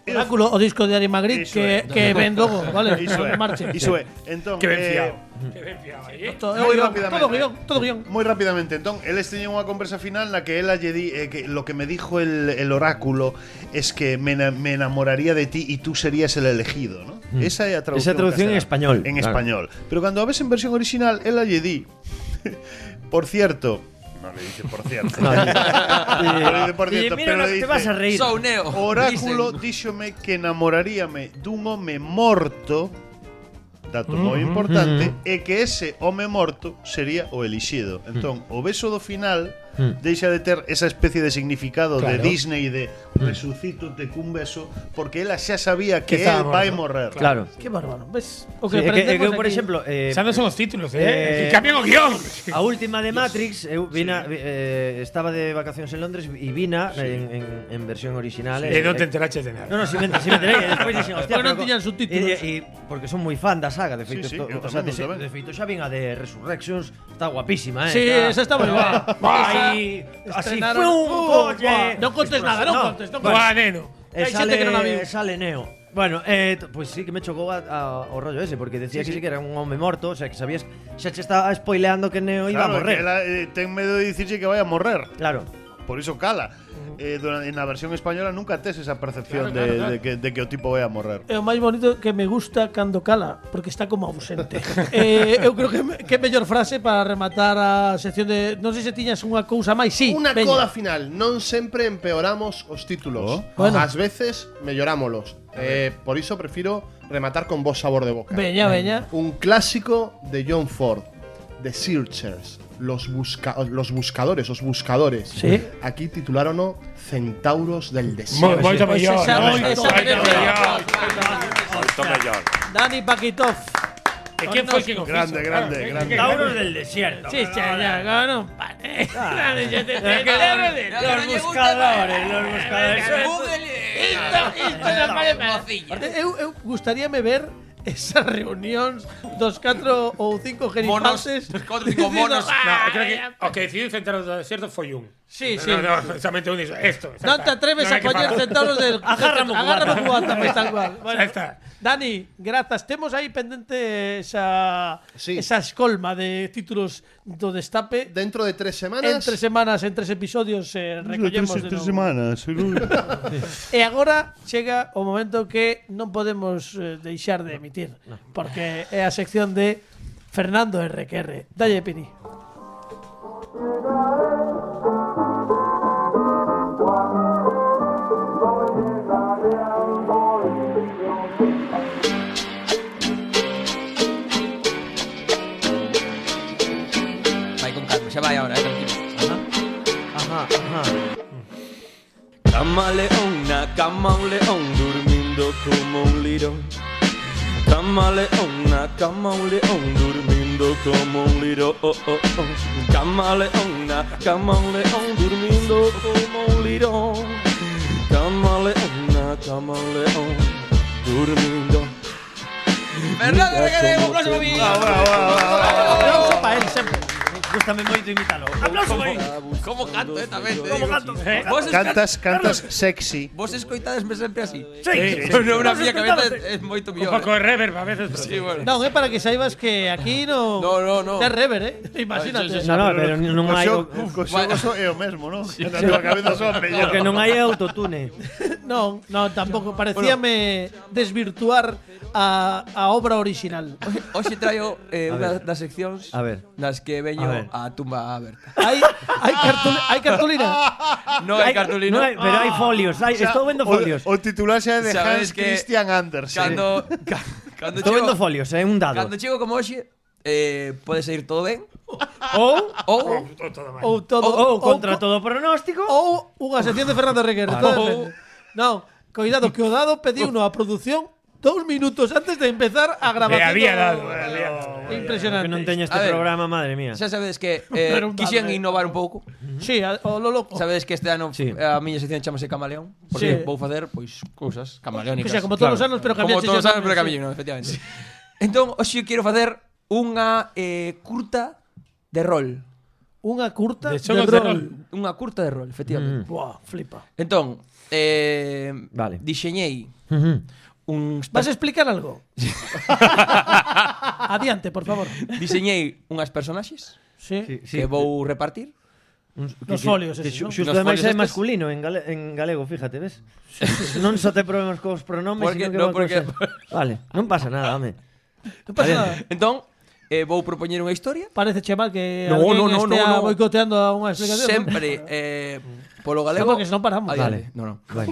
Speaker 2: Oráculo, o disco de Ari Magritte
Speaker 3: Iso
Speaker 2: que,
Speaker 3: é.
Speaker 2: que ven logo, vale?
Speaker 6: <laughs>
Speaker 3: Iso é.
Speaker 2: Marche.
Speaker 3: Iso é. Entón,
Speaker 6: Que ben
Speaker 3: eh,
Speaker 6: fiado. Que ben fiado aí, eh.
Speaker 2: Todo,
Speaker 3: Moi
Speaker 2: guión,
Speaker 3: rápidamente.
Speaker 2: todo guión, todo guión.
Speaker 3: Muy rápidamente, entonces, él tenía una conversa final en la que él lle di, eh, que lo que me dijo el, el oráculo es que me, ena- me enamoraría de ti y tú serías el elegido, ¿no? Esa es la traducción,
Speaker 5: Mm. Esa traducción en
Speaker 3: castellana.
Speaker 5: español,
Speaker 3: En
Speaker 5: claro.
Speaker 3: español. Pero cuando la ves en versión original, él lle di, <laughs> por cierto, no le dice por <laughs> cierto, no le dice por
Speaker 5: Oye,
Speaker 3: cierto,
Speaker 5: mira,
Speaker 3: pero
Speaker 5: no,
Speaker 3: le
Speaker 5: te
Speaker 3: dice,
Speaker 5: vas a reír.
Speaker 4: So, Neo.
Speaker 3: <laughs> Oráculo
Speaker 4: dicen.
Speaker 3: díxome que enamoraríame dun home morto dato moi importante e que ese home morto sería o elixido. Entón, o beso do final deixa de ter esa especie de significado de Disney de resucito te cun beso porque ela xa sabía que, él
Speaker 6: Que estaba
Speaker 3: vai
Speaker 6: morto.
Speaker 3: morrer.
Speaker 5: Claro.
Speaker 2: Qué bárbaro. ¿Ves? O
Speaker 5: Sí, é que, é que,
Speaker 2: aprendemos
Speaker 5: por
Speaker 2: aquí.
Speaker 5: exemplo, eh,
Speaker 6: Xa non son os títulos,
Speaker 5: eh,
Speaker 6: eh. eh cambian o guión.
Speaker 5: A
Speaker 6: <laughs>
Speaker 5: última de Matrix, eu vina, vi- eh, estaba de vacacións en Londres e vina en, en, en versión original.
Speaker 6: E
Speaker 5: eh,
Speaker 6: non te
Speaker 5: eh,
Speaker 6: enteraches de nada.
Speaker 5: No, no, si me, si me enterei, e despois dixen, hostia,
Speaker 2: Pero non
Speaker 5: co-
Speaker 2: tiñan subtítulos.
Speaker 5: E, e, porque son moi fan da saga, de feito,
Speaker 3: Sí, sí,
Speaker 5: esto-
Speaker 3: eu
Speaker 5: o sea,
Speaker 3: tamén,
Speaker 5: de,
Speaker 3: eu tamén.
Speaker 5: de feito xa vin a de Resurrections, está guapísima, eh.
Speaker 2: Sí,
Speaker 5: está-
Speaker 2: esa está moi
Speaker 6: Ah,
Speaker 2: guapa.
Speaker 5: Ahí, así
Speaker 2: Estrenaron-
Speaker 5: fue un
Speaker 2: ¡Oh,
Speaker 5: coche.
Speaker 2: No contes nada, no contes, no contes.
Speaker 5: bueno,
Speaker 6: Buah, neno.
Speaker 5: eh,
Speaker 2: Hay xente
Speaker 5: sale,
Speaker 2: que non a viu.
Speaker 5: sale Neo. Bueno, eh, t- pues sí que me chocou a, a, o rollo ese, porque decía que sí que era un home morto, o sea, que sabías, xa che estaba spoileando que Neo iba a
Speaker 3: Claro,
Speaker 5: morrer.
Speaker 3: que ela, eh, ten medo de dicirlle que vai a morrer.
Speaker 5: Claro.
Speaker 3: por iso cala. Eh, dura- en la versión española nunca tes esa percepción
Speaker 6: Claro, claro,
Speaker 3: de,
Speaker 6: claro.
Speaker 3: de que, de que o tipo vai a morrer.
Speaker 2: É o máis bonito que me gusta cando cala, porque está como ausente. <laughs> eh, eu creo que me- que é mellor frase para rematar a sección de non sei se tiñas unha cousa máis, sí.
Speaker 7: Una
Speaker 2: veña.
Speaker 7: coda final. Non sempre empeoramos os
Speaker 3: Oh.
Speaker 7: títulos.
Speaker 2: Bueno.
Speaker 7: As veces mellorámolos. Eh, por iso prefiro rematar con vos sabor de boca.
Speaker 2: Veña, veña.
Speaker 7: Un clásico de John Ford, The Searchers, los, busca- los buscadores, os buscadores.
Speaker 2: Sí.
Speaker 7: Aquí titularon o Centauros del Desierto.
Speaker 6: Moi, moito
Speaker 2: Pois
Speaker 6: mellor.
Speaker 2: esa-
Speaker 6: moito,
Speaker 2: esa
Speaker 6: moito
Speaker 2: merece.
Speaker 6: mellor.
Speaker 8: Moito mellor.
Speaker 2: Dani Paquitov.
Speaker 6: E quen foi que Ah, o fixo?
Speaker 3: Grande, grande,
Speaker 6: Claro,
Speaker 3: grande.
Speaker 6: que- que-
Speaker 5: Tauros del desierto.
Speaker 2: Sí, xa, ya, ganó un pan. <laughs> eh. Dani, xa te- te- te-
Speaker 5: Los, los buscadores, los buscadores. Eso es-
Speaker 2: Aparte, eu, eu gustaríame ver esas reunións dos 4 ou 5 genipantes.
Speaker 4: dos catro,
Speaker 2: dicindo,
Speaker 4: cinco monos.
Speaker 2: "Ah,
Speaker 6: No, creo que o que decidiu centrar do deserto foi un.
Speaker 2: Sí, sí.
Speaker 6: No, no, solamente un dixo, esto.
Speaker 2: Non te atreves a coñer
Speaker 6: <laughs>
Speaker 2: centauros del...
Speaker 5: Agárrame o cubata.
Speaker 2: Agárrame o cubata, pois tal cual. Bueno,
Speaker 6: Ahí está.
Speaker 2: Dani, grazas. Temos aí pendente esa,
Speaker 7: Sí.
Speaker 2: esa escolma de títulos do destape.
Speaker 7: Dentro de tres semanas.
Speaker 2: En tres semanas, en tres episodios, eh, recollemos de Eh, novo.
Speaker 3: semanas.
Speaker 2: <laughs> E agora chega o momento que non podemos eh, deixar de emitir, porque é a sección de Fernando RQR. Dalle, Pini.
Speaker 4: Vai con calma, xa vai ahora, eh, tranquilo.
Speaker 5: Ajá, ajá.
Speaker 9: Camaleona, camaleón, durmiendo como un lirón. Camaleona, camaleón, durmiendo como un lirón. Camaleona, camaleón, durmiendo como un lirón. Camaleona, camaleón, durmiendo.
Speaker 4: Fernando Regueiro, un aplauso para mí.
Speaker 2: Aplauso para él sempre.
Speaker 5: Gústame moito imitalo. Aplauso para él.
Speaker 4: Como canto, eh, tamén. te
Speaker 5: Como
Speaker 4: digo.
Speaker 5: canto.
Speaker 6: Eh,
Speaker 4: Vos esca-
Speaker 3: Cantas, cantas sexy.
Speaker 4: Vos escoitadesme sempre así.
Speaker 5: Sí.
Speaker 4: Pero non, na
Speaker 5: Vos
Speaker 4: miña cabeza
Speaker 5: escoitades-
Speaker 4: é moito
Speaker 6: Un
Speaker 4: mellor.
Speaker 6: pouco de reverb a veces.
Speaker 4: eh. Sí, bueno.
Speaker 2: Non, é para que saibas que aquí no...
Speaker 4: No, no, no.
Speaker 2: Te rever, eh? <laughs> Imagínate.
Speaker 4: Ay, sí, sí,
Speaker 5: No, no, pero non hai
Speaker 3: Coxo,
Speaker 5: o
Speaker 3: coxo,
Speaker 4: Bueno.
Speaker 3: coxo é o mesmo, non? Na tua cabeza son mellor.
Speaker 5: que non hai
Speaker 2: <laughs>
Speaker 5: é autotune.
Speaker 2: Non, non, tampouco. Parecíame desvirtuar a, a obra original. <laughs>
Speaker 4: Hoxe traio eh, unha das seccións
Speaker 5: A ver.
Speaker 4: nas que veño
Speaker 5: A ver.
Speaker 4: a, tumba aberta.
Speaker 2: Hai, hai, cartuli hai cartulina.
Speaker 4: Non hai cartulino.
Speaker 5: Non hai, pero hai folios. Hai, estou vendo folios.
Speaker 3: O, o titular xa é de
Speaker 4: Sabes
Speaker 3: Hans
Speaker 4: que
Speaker 3: Christian Andersen.
Speaker 4: Cando, ca- cando
Speaker 5: Estou vendo
Speaker 4: chego,
Speaker 5: folios, é un dado.
Speaker 4: cando chego como hoxe, eh, pode sair todo ben.
Speaker 5: Ou <laughs>
Speaker 4: Ou,
Speaker 2: Ou todo. ou-
Speaker 5: ou Oh, contra todo Oh, pronóstico.
Speaker 2: Ou unha sección de Fernando Reguer.
Speaker 4: Claro.
Speaker 2: Non, coidado, que o dado
Speaker 5: Oh.
Speaker 2: pediu a produción dous minutos antes de empezar a grabación.
Speaker 6: Le había
Speaker 2: do-
Speaker 6: dado, le había dado.
Speaker 2: Impresionante.
Speaker 5: Que non teño
Speaker 4: A
Speaker 5: este
Speaker 4: ver.
Speaker 5: programa, madre mía.
Speaker 4: xa sabedes que eh,
Speaker 2: Pero un
Speaker 4: quixen
Speaker 2: dado, eh.
Speaker 4: innovar un pouco.
Speaker 2: Sí, a- o lo loco.
Speaker 4: Sabedes Oh. que este ano eh,
Speaker 5: Sí.
Speaker 4: a miña sección chamase Camaleón,
Speaker 2: Sí.
Speaker 4: porque vou facer pois cousas camaleónicas.
Speaker 2: O sea, como todos os anos, pero
Speaker 4: como
Speaker 2: cambiaste xa
Speaker 4: todos saben, pero
Speaker 2: tamén,
Speaker 4: camaleón, efectivamente. Entón, hoxe eu quero facer unha eh, curta de rol.
Speaker 2: sí. Unha curta de,
Speaker 6: De xogas de rol.
Speaker 4: Unha curta de rol, efectivamente.
Speaker 2: Buah, flipa.
Speaker 4: Entón, eh,
Speaker 5: Vale.
Speaker 4: diseñei uns
Speaker 2: Vas a explicar algo?
Speaker 4: <laughs>
Speaker 2: Adiante, por favor.
Speaker 4: diseñei unhas personaxes
Speaker 2: <laughs> Sí.
Speaker 4: sí, que vou repartir.
Speaker 2: Nos folios, esos,
Speaker 5: Xu-
Speaker 2: non?
Speaker 5: Xusto
Speaker 4: Nos
Speaker 5: ademais
Speaker 4: folios
Speaker 5: é
Speaker 4: estes.
Speaker 5: masculino en, gale en galego, fíjate, ves? non só te problemas cos pronomes,
Speaker 4: Porque-
Speaker 5: sino que
Speaker 4: no,
Speaker 5: van
Speaker 4: porque-
Speaker 5: cosas- Vale, non pasa nada, home.
Speaker 2: Non pasa nada.
Speaker 4: Entón, eh, vou propoñer unha historia
Speaker 2: Parece che mal que
Speaker 4: No,
Speaker 2: alguén
Speaker 4: no, no,
Speaker 2: estea
Speaker 4: no, no.
Speaker 2: boicoteando a unha explicación. <laughs>
Speaker 4: sempre eh, polo galego.
Speaker 2: Claro, porque senón paramos.
Speaker 4: Adiante.
Speaker 5: Vale.
Speaker 4: No, no.
Speaker 5: Vale.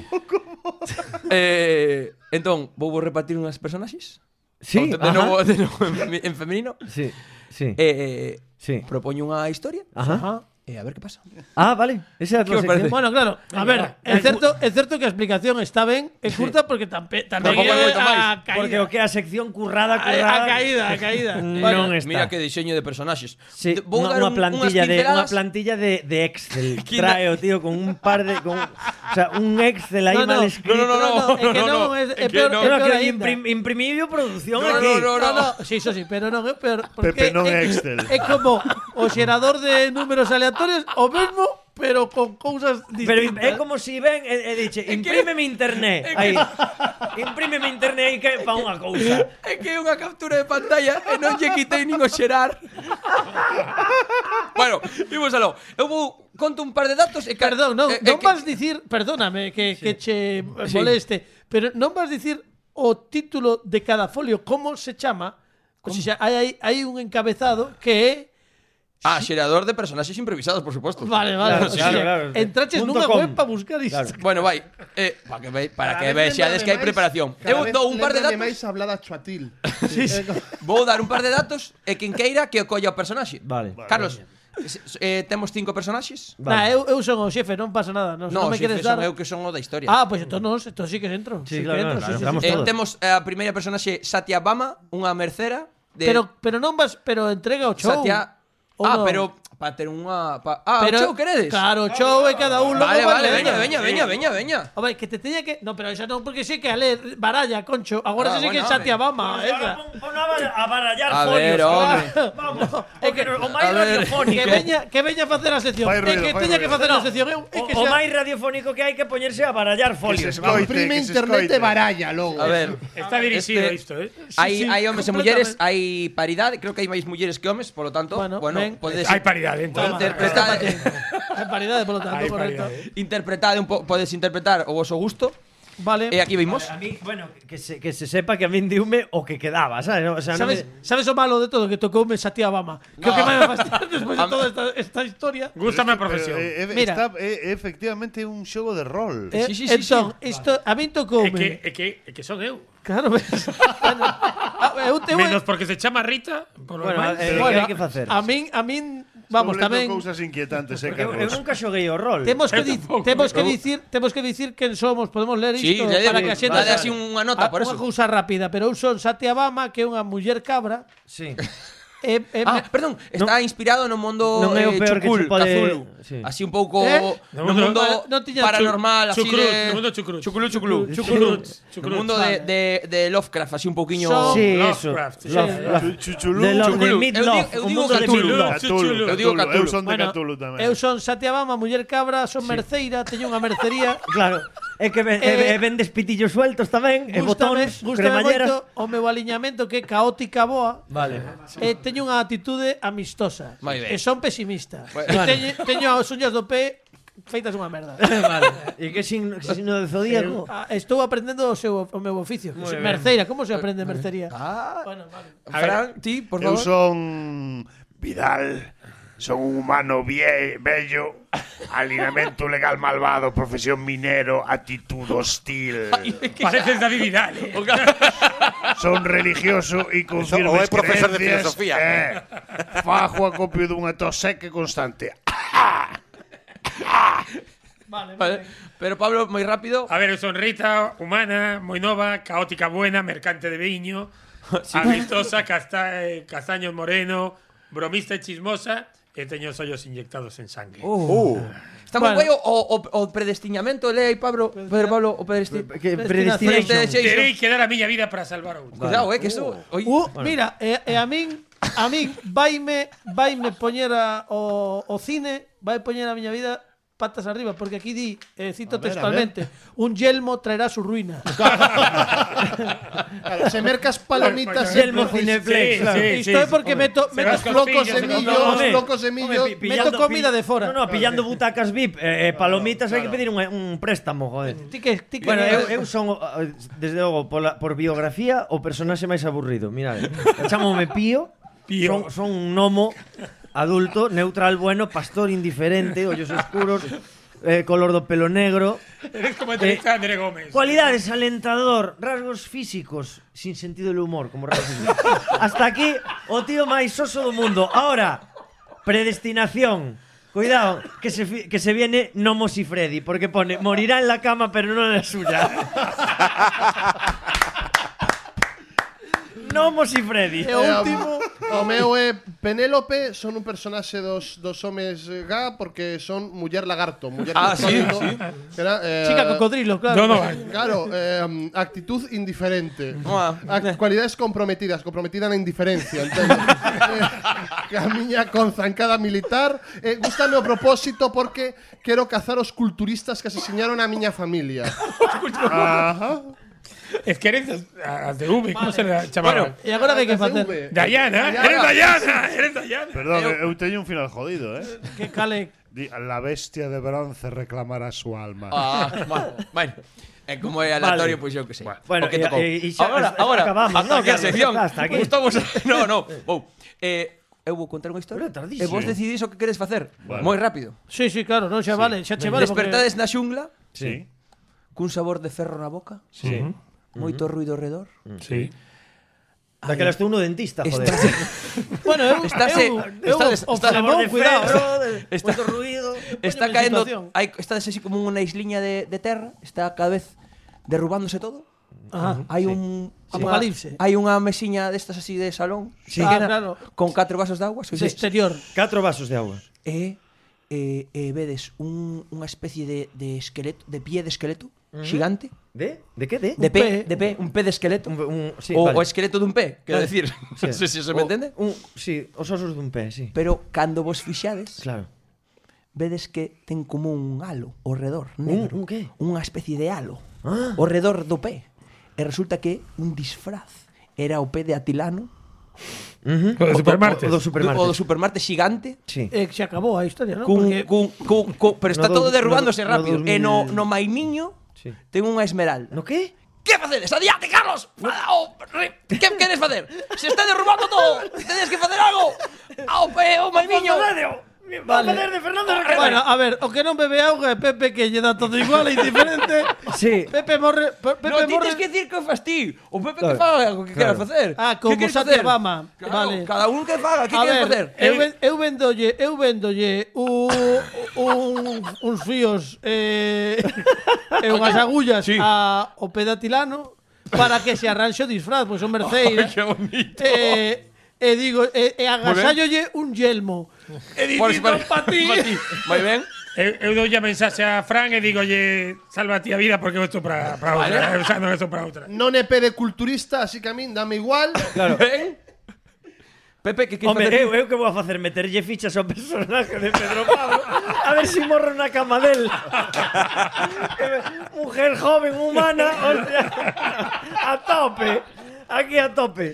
Speaker 4: Eh, entón, vou vou repartir unhas personaxes.
Speaker 5: Sí,
Speaker 4: Ou de,
Speaker 5: ajá.
Speaker 4: novo, de novo en, femi- en femenino.
Speaker 5: Sí, sí,
Speaker 4: Eh,
Speaker 5: sí.
Speaker 4: propoño unha historia
Speaker 5: Ajá.
Speaker 4: e a ver que pasa.
Speaker 5: Ah, vale. Esa é a
Speaker 4: Que
Speaker 5: tua
Speaker 4: os parece?
Speaker 5: sección.
Speaker 2: Bueno, claro, a ver, é certo, é certo que a explicación está ben, é curta porque tampe, tamén
Speaker 4: Tampouco hai
Speaker 2: é
Speaker 4: moito máis,
Speaker 2: a caída.
Speaker 5: Porque o que é a sección currada,
Speaker 2: a, a
Speaker 5: currada...
Speaker 2: caída, a caída.
Speaker 5: <laughs> Non
Speaker 4: Vale,
Speaker 5: está.
Speaker 4: Mira que diseño de personaxes.
Speaker 5: Sí,
Speaker 4: De-
Speaker 5: unha, unha
Speaker 4: un- unhas
Speaker 5: plantilla de unha
Speaker 4: pinceladas.
Speaker 5: plantilla de, de
Speaker 4: <laughs>
Speaker 5: Excel.
Speaker 4: Quina-
Speaker 5: Trae o tío con un par de con, o sea, un Excel
Speaker 2: No,
Speaker 5: aí
Speaker 2: no,
Speaker 5: mal
Speaker 2: no,
Speaker 5: escrito.
Speaker 4: no, no,
Speaker 2: no, é que
Speaker 4: no,
Speaker 2: non,
Speaker 4: no,
Speaker 2: é, é
Speaker 4: é que
Speaker 2: peor,
Speaker 4: non.
Speaker 2: é peor
Speaker 5: Pero que
Speaker 2: ainda.
Speaker 5: imprim, imprimir yo producción
Speaker 4: No,
Speaker 5: aquí.
Speaker 4: no, no,
Speaker 2: No, no, sí, eso sí, pero non é peor. Porque
Speaker 3: Pepe non é
Speaker 2: é,
Speaker 3: Excel.
Speaker 2: É como o xerador de números aleatorios, o mesmo, pero con cousas
Speaker 5: Pero
Speaker 2: distintas.
Speaker 5: é como si ven e, e
Speaker 4: <laughs>
Speaker 5: dixe, imprímeme internet aí. Imprímeme internet aí que pa unha cousa.
Speaker 4: <laughs> É que é unha captura de pantalla e non lle quitei nin o xerar. bueno, imos aló. Eu vou conto un par de datos e ca-
Speaker 2: Perdón, non,
Speaker 4: e- e
Speaker 2: non
Speaker 4: Eh, que-
Speaker 2: vas dicir, perdóname que, que che moleste, pero non vas dicir o título de cada folio, como se chama, como? Xa, hai, hai, hai un encabezado que é
Speaker 4: Ah, xerador de personaxes improvisados, por suposto.
Speaker 2: Vale, vale.
Speaker 5: Claro,
Speaker 2: o sea,
Speaker 5: claro, claro.
Speaker 2: Entraches
Speaker 5: Punto
Speaker 2: nunha
Speaker 5: com.
Speaker 2: web para buscar isto.
Speaker 4: Bueno, vai. Eh, para que ve, para
Speaker 7: Cada
Speaker 4: que
Speaker 7: vez
Speaker 4: vexades
Speaker 7: lembrade
Speaker 4: que hai
Speaker 7: máis-
Speaker 4: preparación.
Speaker 7: cada
Speaker 4: Eu
Speaker 7: vez
Speaker 4: dou un par de datos.
Speaker 7: lembrade máis a hablada chuatil. Eh, co-
Speaker 4: Vou dar un par de datos e quen queira que o colla o personaxe.
Speaker 5: Vale.
Speaker 4: Carlos, s- s- eh, temos cinco personaxes?
Speaker 5: Vale.
Speaker 2: Nah, eu, eu son o xefe, non pasa nada. Non, se non
Speaker 4: No,
Speaker 2: me
Speaker 4: si
Speaker 2: queres dar.
Speaker 4: son eu que son o da historia.
Speaker 2: Ah, pois pues, entón non, entón sí que entro. que
Speaker 5: Sí, claro,
Speaker 2: entro,
Speaker 5: claro,
Speaker 2: sí, sí,
Speaker 5: estamos
Speaker 2: sí.
Speaker 4: eh,
Speaker 5: todos.
Speaker 4: temos a primeira personaxe Satya Bama, unha mercera de
Speaker 2: Pero, pero non vas, pero entrega o show.
Speaker 4: Satya
Speaker 2: Ou
Speaker 4: Ah,
Speaker 2: non?
Speaker 4: pero para ter unha pa... Ah,
Speaker 2: Pero-
Speaker 4: o show queredes?
Speaker 2: Claro, o show é cada un.
Speaker 4: Vale,
Speaker 2: logo
Speaker 4: vale,
Speaker 2: vai
Speaker 4: veña,
Speaker 2: lendo.
Speaker 4: veña, veña, veña, veña.
Speaker 2: A ver, que te teña que... No, pero esa non, porque sí que a ler baralla, concho. Agora
Speaker 4: Ah,
Speaker 2: sí que é
Speaker 4: bueno, home.
Speaker 2: Satya Bama. esa.
Speaker 5: a barallar
Speaker 4: A ver, home.
Speaker 5: Vamos. O, que, o
Speaker 4: A
Speaker 5: máis
Speaker 2: <laughs>
Speaker 4: ver.
Speaker 5: radiofónico.
Speaker 2: Que veña, que veña a facer a sección.
Speaker 3: Fai
Speaker 2: É
Speaker 3: ruido,
Speaker 2: que
Speaker 3: fai
Speaker 2: teña que
Speaker 3: ruido.
Speaker 2: facer a
Speaker 5: No,
Speaker 2: sección. Eu, é
Speaker 5: O,
Speaker 2: que
Speaker 5: o
Speaker 2: xa-
Speaker 5: máis
Speaker 2: <laughs>
Speaker 5: radiofónico que hai que poñerse a barallar folios.
Speaker 3: se
Speaker 5: vamos.
Speaker 3: escoite,
Speaker 7: Comprime
Speaker 3: que se
Speaker 7: internet
Speaker 3: escoite.
Speaker 7: e baralla logo.
Speaker 4: A ver.
Speaker 6: Está dirixido
Speaker 4: Este-
Speaker 6: isto, eh?
Speaker 2: sí,
Speaker 4: hai hai homes e mulleres, hai paridade, creo que hai máis mulleres que homes, polo tanto,
Speaker 2: Bueno,
Speaker 4: bueno,
Speaker 2: ben.
Speaker 4: podedes
Speaker 6: Hai paridade, entón.
Speaker 4: interpretar
Speaker 2: Hai paridade, polo tanto,
Speaker 6: Hai
Speaker 2: correcto.
Speaker 6: paridade.
Speaker 4: interpretar un po, podes interpretar o vosso gusto.
Speaker 2: Vale.
Speaker 4: E aquí vimos.
Speaker 5: A mí, bueno, que se, que se sepa que a min diume o que quedaba, sabes? O sea, non
Speaker 2: ¿Sabes,
Speaker 5: me-
Speaker 2: ¿Sabes lo malo de todo? Que tocó un Satya Bama. Que lo que más me
Speaker 4: <laughs>
Speaker 2: fastidia después de
Speaker 4: Am-
Speaker 2: toda esta, esta historia.
Speaker 6: Gústame a profesión.
Speaker 3: Pero, eh, eh,
Speaker 2: Mira.
Speaker 3: está, eh, eh, efectivamente un xogo de rol.
Speaker 2: Eh,
Speaker 4: sí, sí, sí,
Speaker 2: entón, isto, a mí tocó.
Speaker 6: É que, é que, é que son eu.
Speaker 2: Claro, ves. Bueno, ah, eh, a, eu te voy-
Speaker 6: Menos porque se chama Rita, por lo
Speaker 5: Bueno,
Speaker 6: demais.
Speaker 5: eh, que
Speaker 2: bueno,
Speaker 5: hai que facer?
Speaker 2: A min, a min, vamos,
Speaker 3: Sobre todo
Speaker 2: tamén
Speaker 3: cousas inquietantes, eh,
Speaker 5: Porque eu, eu
Speaker 3: Carlos.
Speaker 5: nunca xoguei o rol.
Speaker 2: temos que
Speaker 6: Eu
Speaker 2: di-
Speaker 6: tampouco,
Speaker 2: temos que
Speaker 6: eu-
Speaker 2: dicir, temos que dicir quen somos, podemos ler isto
Speaker 4: Sí, le-
Speaker 2: para que a
Speaker 4: le-
Speaker 2: xente Ah,
Speaker 4: dale así unha nota, por eso.
Speaker 2: Unha cousa rápida, pero eu son Satya Bama, que é unha muller cabra,
Speaker 5: Sí.
Speaker 2: e, e
Speaker 4: Ah, perdón, está inspirado no mundo
Speaker 5: Non é o
Speaker 4: eh,
Speaker 5: peor que
Speaker 4: Chukul,
Speaker 5: se pode-
Speaker 4: Cthulhu.
Speaker 5: Sí.
Speaker 4: Así un pouco
Speaker 2: Eh?
Speaker 4: no,
Speaker 6: No mundo-
Speaker 4: mundo
Speaker 2: non tiña
Speaker 4: paranormal, así
Speaker 6: Chucrut,
Speaker 4: de
Speaker 6: no mundo chucrut.
Speaker 4: Chuculu, chuculu.
Speaker 6: Chucrut,
Speaker 4: No
Speaker 6: chucrut.
Speaker 4: mundo de, de, de Lovecraft, así un poquillo
Speaker 2: Son-
Speaker 5: Sí, eso.
Speaker 6: Lovecraft, sí.
Speaker 5: Love- Love-
Speaker 3: Chuchulú.
Speaker 5: De Love, de
Speaker 4: Chuculu.
Speaker 5: Mid
Speaker 4: Eu
Speaker 5: Love,
Speaker 4: digo- eu
Speaker 5: o
Speaker 4: digo
Speaker 5: mundo de
Speaker 4: Cthulhu.
Speaker 5: Mid Love.
Speaker 6: Chuchulú.
Speaker 4: Eu digo
Speaker 3: Eu
Speaker 4: Cthulhu.
Speaker 3: son de
Speaker 2: bueno,
Speaker 3: Cthulhu tamén.
Speaker 2: eu son Satya Bama, muller cabra, son merceira, teño unha
Speaker 4: <laughs>
Speaker 2: mercería
Speaker 5: Claro. É que ven,
Speaker 2: Eh,
Speaker 5: eh, vendes pitillos sueltos tamén, e
Speaker 2: Gústame,
Speaker 5: botóns,
Speaker 2: gústame
Speaker 5: cremalleras.
Speaker 2: moito o meu aliñamento que é caótica boa
Speaker 5: Vale.
Speaker 2: e teño unha atitude amistosa.
Speaker 4: Moi ben.
Speaker 2: E son pesimista.
Speaker 4: Bueno.
Speaker 2: E teño, teño as uñas do pé feitas unha
Speaker 4: <laughs>
Speaker 2: merda.
Speaker 5: vale. E que signo, que signo de zodíaco?
Speaker 2: Ah, Estou aprendendo o seu o meu oficio. merceira, como se
Speaker 4: Eh,
Speaker 2: aprende mercería? Ah, bueno, vale.
Speaker 4: Fran, ti, por
Speaker 3: Eu
Speaker 4: favor.
Speaker 3: son Vidal. Son un humano vie- bello, alineamento legal malvado, profesión minero, actitud hostil.
Speaker 6: Pareces David Vidal, eh.
Speaker 3: Son religioso e con
Speaker 8: Eso,
Speaker 3: firmes
Speaker 8: o é profesor de
Speaker 3: creencias,
Speaker 8: filosofía.
Speaker 3: Eh, fajo acopio dunha tos seca e constante.
Speaker 2: Vale, vale.
Speaker 4: Vale. Pero Pablo, moi rápido.
Speaker 6: A ver, eu son Rita, humana, moi nova, caótica buena, mercante de viño, amistosa, casta- eh, castaño moreno, bromista e chismosa, e teño os ollos inyectados en sangre.
Speaker 8: Uh,
Speaker 4: Está moi
Speaker 2: Bueno.
Speaker 4: guai o, o, o predestiñamento, lei aí, Pablo. Pedro Pablo, o predestiñamento.
Speaker 5: Que
Speaker 4: Predestination.
Speaker 5: predestination.
Speaker 6: Terei que dar a miña vida para salvar a outro.
Speaker 4: Cuidado, eh, que eso... Oi,
Speaker 2: Uh, mira, e, e a min a min vaime vaime poñer a, o, o cine, vai poñer a miña vida patas arriba, porque aquí di, eh, cito
Speaker 7: ver, a
Speaker 2: textualmente, un yelmo traerá su ruina.
Speaker 7: Claro, se mercas palomitas
Speaker 5: Del
Speaker 7: en
Speaker 5: Mocineplex.
Speaker 6: Sí,
Speaker 5: claro.
Speaker 6: sí.
Speaker 2: Isto é porque
Speaker 6: hombre.
Speaker 2: meto,
Speaker 6: Se
Speaker 2: meto
Speaker 6: vas con
Speaker 2: flocos
Speaker 6: pillos,
Speaker 7: flocos
Speaker 6: se
Speaker 2: en mi
Speaker 6: vas
Speaker 5: Hombre.
Speaker 6: con-
Speaker 7: semillos, flocos semillos.
Speaker 5: pi-
Speaker 2: meto comida de fora.
Speaker 5: No, no, pillando butacas VIP, eh, eh, palomitas hai que pedir un, un préstamo, joder.
Speaker 2: Ti que, ti que
Speaker 5: Bueno, eu, eu son, o- o- desde logo, pola, por biografía, o personaxe máis aburrido. <laughs> Mirade, chamome Pío,
Speaker 6: Pío.
Speaker 5: Son, son un gnomo adulto, neutral, bueno, pastor indiferente, ollos oscuros, eh, color do pelo negro.
Speaker 6: Eres como entrevista de André Gómez.
Speaker 5: Cualidades, alentador, rasgos físicos, sin sentido del humor, como rasgos físicos. Hasta aquí, o tío máis soso do mundo. Ahora, predestinación. Cuidado, que se, fi- que se viene Nomos y Freddy, porque pone, morirá en la cama, pero no en la suya. <laughs> Nomos y Freddy.
Speaker 7: E o último, o meu é eh, Penélope, son un personaxe dos, dos homes eh, ga porque son muller lagarto, muller
Speaker 4: Ah, sí,
Speaker 7: cocodrilo,
Speaker 4: sí.
Speaker 7: que era, eh,
Speaker 2: Chica cocodrilo, claro.
Speaker 6: No, no, vale.
Speaker 7: Claro, eh, actitud indiferente.
Speaker 4: Ah.
Speaker 7: Ac- cualidades comprometidas, comprometida na indiferencia,
Speaker 4: <laughs>
Speaker 7: entendo. eh, camiña con zancada militar. Eh, gustame o propósito porque quero cazar os culturistas que asesinaron a miña familia. Ajá.
Speaker 6: Es que eres as- as de V, ¿cómo se la chamaban?
Speaker 2: E agora que hai que facer?
Speaker 7: SV.
Speaker 6: Dayana, eres Dayana, eres Dayana.
Speaker 3: Perdón, eu teño un final jodido, eh?
Speaker 2: Que cale
Speaker 3: Di, La bestia de bronce reclamará su alma.
Speaker 4: Ah, bueno, bueno, eh, como é aleatorio,
Speaker 5: Vale.
Speaker 4: pois eu que sei. O
Speaker 5: Bueno,
Speaker 4: que
Speaker 5: e-
Speaker 4: tocou.
Speaker 5: e- e xa-
Speaker 4: agora,
Speaker 5: xa
Speaker 4: agora,
Speaker 5: acabamos,
Speaker 4: hasta
Speaker 5: ¿no,
Speaker 4: aquí a
Speaker 5: Carlos?
Speaker 4: sección.
Speaker 5: Hasta aquí.
Speaker 4: Gustamos, <laughs> no, no, vou. Eh, eu vou contar unha historia.
Speaker 5: Pero é
Speaker 4: E
Speaker 5: tardísimo.
Speaker 4: vos decidís o que queres facer.
Speaker 3: Vale.
Speaker 4: Moi rápido.
Speaker 2: Sí, sí, claro, no, xa vale, xa che vale. porque-
Speaker 4: Despertades na xungla
Speaker 3: sí.
Speaker 4: cun sabor de ferro na boca,
Speaker 3: Sí.
Speaker 4: moito ruido ao redor.
Speaker 6: Sí.
Speaker 5: Daquelas tú uno dentista, Mm. joder. <laughs>
Speaker 2: Bueno, eu,
Speaker 4: Estase-
Speaker 2: eu, eu,
Speaker 4: estades-
Speaker 2: o
Speaker 4: estades-
Speaker 2: Flamón,
Speaker 5: Sabor de
Speaker 2: cuidado.
Speaker 5: ferro, de-
Speaker 4: Está-
Speaker 5: moito ruido.
Speaker 4: Está
Speaker 2: Póñeme en
Speaker 4: caendo,
Speaker 2: situación.
Speaker 4: hai, está así como unha isliña de, de terra, está cada vez derrubándose todo.
Speaker 2: Ajá.
Speaker 4: Hai
Speaker 2: Sí.
Speaker 4: un unha-
Speaker 2: Apocalipse.
Speaker 4: Hai unha mesiña destas así de salón,
Speaker 2: Sí.
Speaker 4: pequena,
Speaker 2: Ah, claro.
Speaker 4: con catro vasos de agua,
Speaker 2: De
Speaker 4: sois
Speaker 2: exterior.
Speaker 5: Catro vasos de agua.
Speaker 4: e eh, eh, vedes un, unha especie de, de esqueleto, de pie de esqueleto xigante,
Speaker 5: ¿De? ¿De qué? ¿De?
Speaker 4: de
Speaker 2: Un
Speaker 4: pé,
Speaker 2: pé.
Speaker 4: de pé, un pé de esqueleto.
Speaker 5: Un- un- sí,
Speaker 4: o,
Speaker 5: vale.
Speaker 4: o esqueleto dun pé, quero
Speaker 5: Vale.
Speaker 4: decir. <laughs>
Speaker 5: Sí.
Speaker 4: non sei se se
Speaker 5: O-
Speaker 4: me entende.
Speaker 5: Un, sí, os osos dun pé, sí.
Speaker 4: Pero cando vos fixades,
Speaker 5: Claro.
Speaker 4: vedes que ten como un halo ao redor negro.
Speaker 5: un qué?
Speaker 4: Unha especie de halo
Speaker 5: Ah.
Speaker 4: ao redor do pé. E resulta que un disfraz era o pé de Atilano
Speaker 5: Uh
Speaker 6: O de supermartes.
Speaker 5: O
Speaker 4: o
Speaker 5: do
Speaker 4: do
Speaker 5: supermartes.
Speaker 4: supermarte xigante
Speaker 5: Sí.
Speaker 2: Eh, se acabou a historia, ¿no?
Speaker 4: cun,
Speaker 2: Porque
Speaker 4: cun, cun, cun, pero está
Speaker 5: No
Speaker 4: todo
Speaker 5: dou-
Speaker 4: derrubándose
Speaker 5: no dou-
Speaker 4: rápido
Speaker 5: no
Speaker 4: e no,
Speaker 5: 2000.
Speaker 4: no mainiño
Speaker 5: Sí.
Speaker 4: ten unha esmeralda
Speaker 5: ¿No qué?
Speaker 4: Que facedes? Adiante, Carlos! Ao, re, que queres facer? Se está derrubando todo! Tedes que facer algo! Ao pe, o oh, maimiño!
Speaker 2: Vale. Ah, Bueno, a ver, o que non bebe auga é Pepe que lle dá todo igual e indiferente.
Speaker 5: Sí.
Speaker 2: Pepe morre, Pe- Pepe
Speaker 4: Non
Speaker 2: morre.
Speaker 4: tens que decir que o fas ti O Pepe que
Speaker 5: Claro,
Speaker 4: faga algo que queras
Speaker 5: claro.
Speaker 4: facer
Speaker 2: Ah,
Speaker 4: Que
Speaker 2: como
Speaker 4: queres
Speaker 2: Satya
Speaker 4: facer?
Speaker 2: Obama.
Speaker 4: Claro,
Speaker 2: Vale.
Speaker 4: cada un que faga Que
Speaker 2: a ver,
Speaker 4: queres facer?
Speaker 2: eu, ven- eu vendolle, eu vendolle u, un, uns fíos eh, <laughs> e unhas agullas sí. a, o pedatilano para que se arranxe o disfraz, pois son merceira.
Speaker 4: Ai, que bonito.
Speaker 2: Eh, e digo, e, e agasállolle un yelmo.
Speaker 4: pues,
Speaker 2: E dicindo pa ti.
Speaker 4: Moi ben
Speaker 6: Eu, eu dou a mensaxe a Fran e digo, oye, salva ti a vida porque isto para, para
Speaker 4: Vale.
Speaker 6: outra. Eu xa non isto para outra.
Speaker 7: Non é pede culturista, así que a min dame igual.
Speaker 4: Claro Ben Pepe, que queres
Speaker 5: Home,
Speaker 4: facer?
Speaker 5: eu, eu que vou a facer meterlle fichas ao personaje de Pedro Pablo A ver si morro na cama del <laughs> Que- Mujer joven, humana, hostia A tope Aquí a tope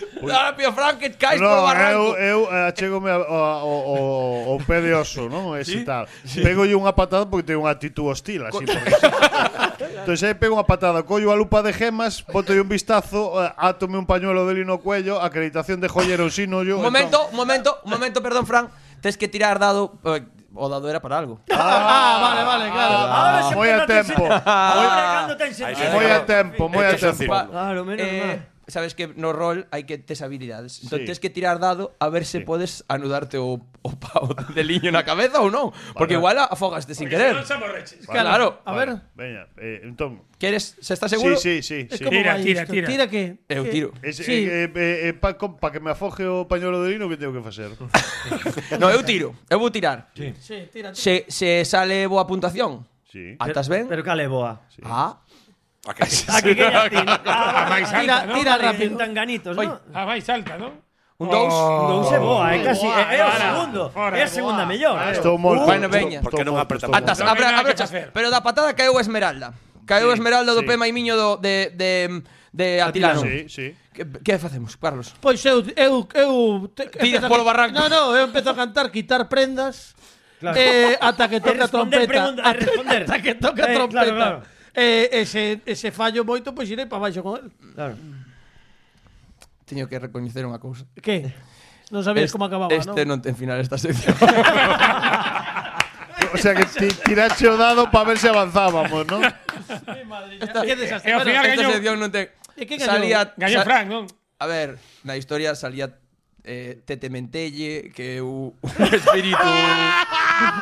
Speaker 2: eh,
Speaker 4: Ahora pío Ah, Frank que caes
Speaker 3: No, eh,
Speaker 4: polo barranco
Speaker 3: eu, eu achegome ao, ao, ao, ao pé de oso, non? Ese tal. Pégolle unha patada porque ten unha actitud hostil, así por eso. Entón, aí pego unha patada, collo a lupa de gemas, botolle un vistazo, eh, átome un pañuelo de lino ao cuello, acreditación de joyero sin
Speaker 7: eh,
Speaker 3: ollo.
Speaker 4: Un momento, un momento, un momento, perdón, Fran. Tens que tirar dado. eh, o dado era para algo.
Speaker 2: Ah, vale, vale, claro.
Speaker 5: Ahora se
Speaker 3: moi a
Speaker 5: empeza a
Speaker 3: tempo.
Speaker 4: Ah,
Speaker 5: Ahora cando ten sentido
Speaker 3: Moi a tempo, moi a
Speaker 8: Es que son
Speaker 2: Ah,
Speaker 3: tempo.
Speaker 8: Pablo.
Speaker 5: Claro, menos
Speaker 4: Eh,
Speaker 5: mal
Speaker 4: sabes que no rol hai que tes habilidades. Entón
Speaker 3: Sí.
Speaker 4: tens que tirar dado a ver se podes anudarte o, o pao de liño na cabeza ou non. Porque igual afógaste sin
Speaker 6: Porque
Speaker 4: querer.
Speaker 6: se non se amorreches.
Speaker 4: Claro.
Speaker 2: A ver,
Speaker 3: Veña, eh, entón.
Speaker 4: Queres, se estás seguro?
Speaker 3: Sí, sí, sí.
Speaker 2: es
Speaker 3: sí.
Speaker 2: como
Speaker 6: Tira,
Speaker 2: vai
Speaker 6: tira,
Speaker 2: isto.
Speaker 6: tira.
Speaker 2: Tira que
Speaker 4: Eu tiro.
Speaker 3: Ese,
Speaker 2: Sí.
Speaker 3: eh, eh, eh, pa, com- pa que me afoje o pañuelo de lino que tengo que facer.
Speaker 4: No, eu tiro. Eu vou tirar.
Speaker 2: Sí, tira. tira.
Speaker 4: Se, se sale boa puntuación,
Speaker 3: Sí.
Speaker 4: atas ben.
Speaker 5: Pero cale boa
Speaker 4: Ah,
Speaker 8: A que-
Speaker 5: Aquí que ya tin
Speaker 6: A
Speaker 5: Ah,
Speaker 6: máis
Speaker 2: Tira,
Speaker 6: alta, non?
Speaker 2: tira rápido.
Speaker 5: tan ganitos,
Speaker 4: Oi.
Speaker 5: non?
Speaker 6: A máis alta, non?
Speaker 4: un dous.
Speaker 6: Oh.
Speaker 5: Non se
Speaker 3: Oh.
Speaker 5: boa, é casi
Speaker 7: boa,
Speaker 5: É é o
Speaker 6: fora,
Speaker 5: segundo
Speaker 6: fora,
Speaker 5: É a segunda
Speaker 6: boa.
Speaker 5: mellor
Speaker 3: Estou molto.
Speaker 4: bueno, veña.
Speaker 8: Por que non apretamos?
Speaker 4: Atas,
Speaker 6: Non hai
Speaker 4: abra,
Speaker 6: nada
Speaker 4: abra,
Speaker 6: que facer.
Speaker 4: pero da patada caeu a Esmeralda. Caeu a Esmeralda do
Speaker 3: sí.
Speaker 4: Pema e Miño do, de, de, de Atilano.
Speaker 3: Sí, sí.
Speaker 4: Que, que facemos, Carlos?
Speaker 2: Pois eu eu eu te,
Speaker 4: Tiras polo barranco.
Speaker 2: No, no, eu empezo a cantar quitar prendas. Claro. Eh, ata que toca
Speaker 5: E responder
Speaker 2: trompeta.
Speaker 5: pregunta- e
Speaker 2: ata,
Speaker 5: responder.
Speaker 2: ata que toca
Speaker 5: Eh,
Speaker 2: trompeta.
Speaker 5: claro, claro.
Speaker 2: Eh, ese, ese fallo moito, pois irei para baixo con el.
Speaker 5: Claro.
Speaker 4: Teño que recoñecer unha cousa.
Speaker 2: Que? Non sabías como acababa,
Speaker 4: este
Speaker 2: non?
Speaker 4: non ten final esta sección.
Speaker 3: O sea que ti, tirache o dado para ver se avanzábamos, ¿no?
Speaker 4: Esta,
Speaker 2: Que desastre.
Speaker 6: E Eh, ao
Speaker 2: Bueno,
Speaker 6: final
Speaker 4: esta
Speaker 6: gañou-
Speaker 4: sección non ten...
Speaker 2: E que gañou?
Speaker 4: Salía...
Speaker 6: Gañou
Speaker 4: sa-
Speaker 6: Fran, non?
Speaker 4: A ver, na historia salía eh, Tete Mentelle, que é <laughs> o o espírito...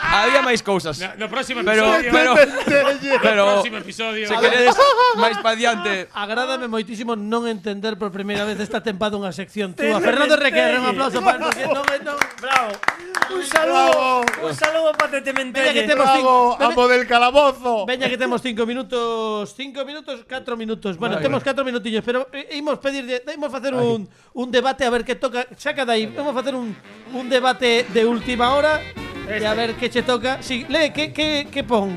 Speaker 4: Había máis cousas.
Speaker 6: Na- No próximo
Speaker 4: Pero,
Speaker 6: episodio.
Speaker 4: pero, <laughs> pero,
Speaker 6: no próximo episodio.
Speaker 4: se queredes máis pa diante,
Speaker 2: Agrádame moitísimo non entender por primeira vez esta tempada unha sección túa.
Speaker 5: Te
Speaker 2: Fernando Requer, un
Speaker 5: mentei.
Speaker 2: aplauso para porque non, non,
Speaker 5: Bravo. Un saludo. Un saludo para Tete
Speaker 2: Veña que
Speaker 5: Mentelle.
Speaker 2: temos
Speaker 3: ¡Bravo!
Speaker 2: cinco-
Speaker 3: ¡Amo del calabozo!
Speaker 2: Veña que temos 5 minutos, 5 minutos, 4 minutos. Bueno, temos 4 minutillos, pero eh, imos pedirlle, imos facer un un debate a ver que toca. Saca dai, vamos facer un un debate de última hora e a ver que che toca. Si, sí, le que que que pon.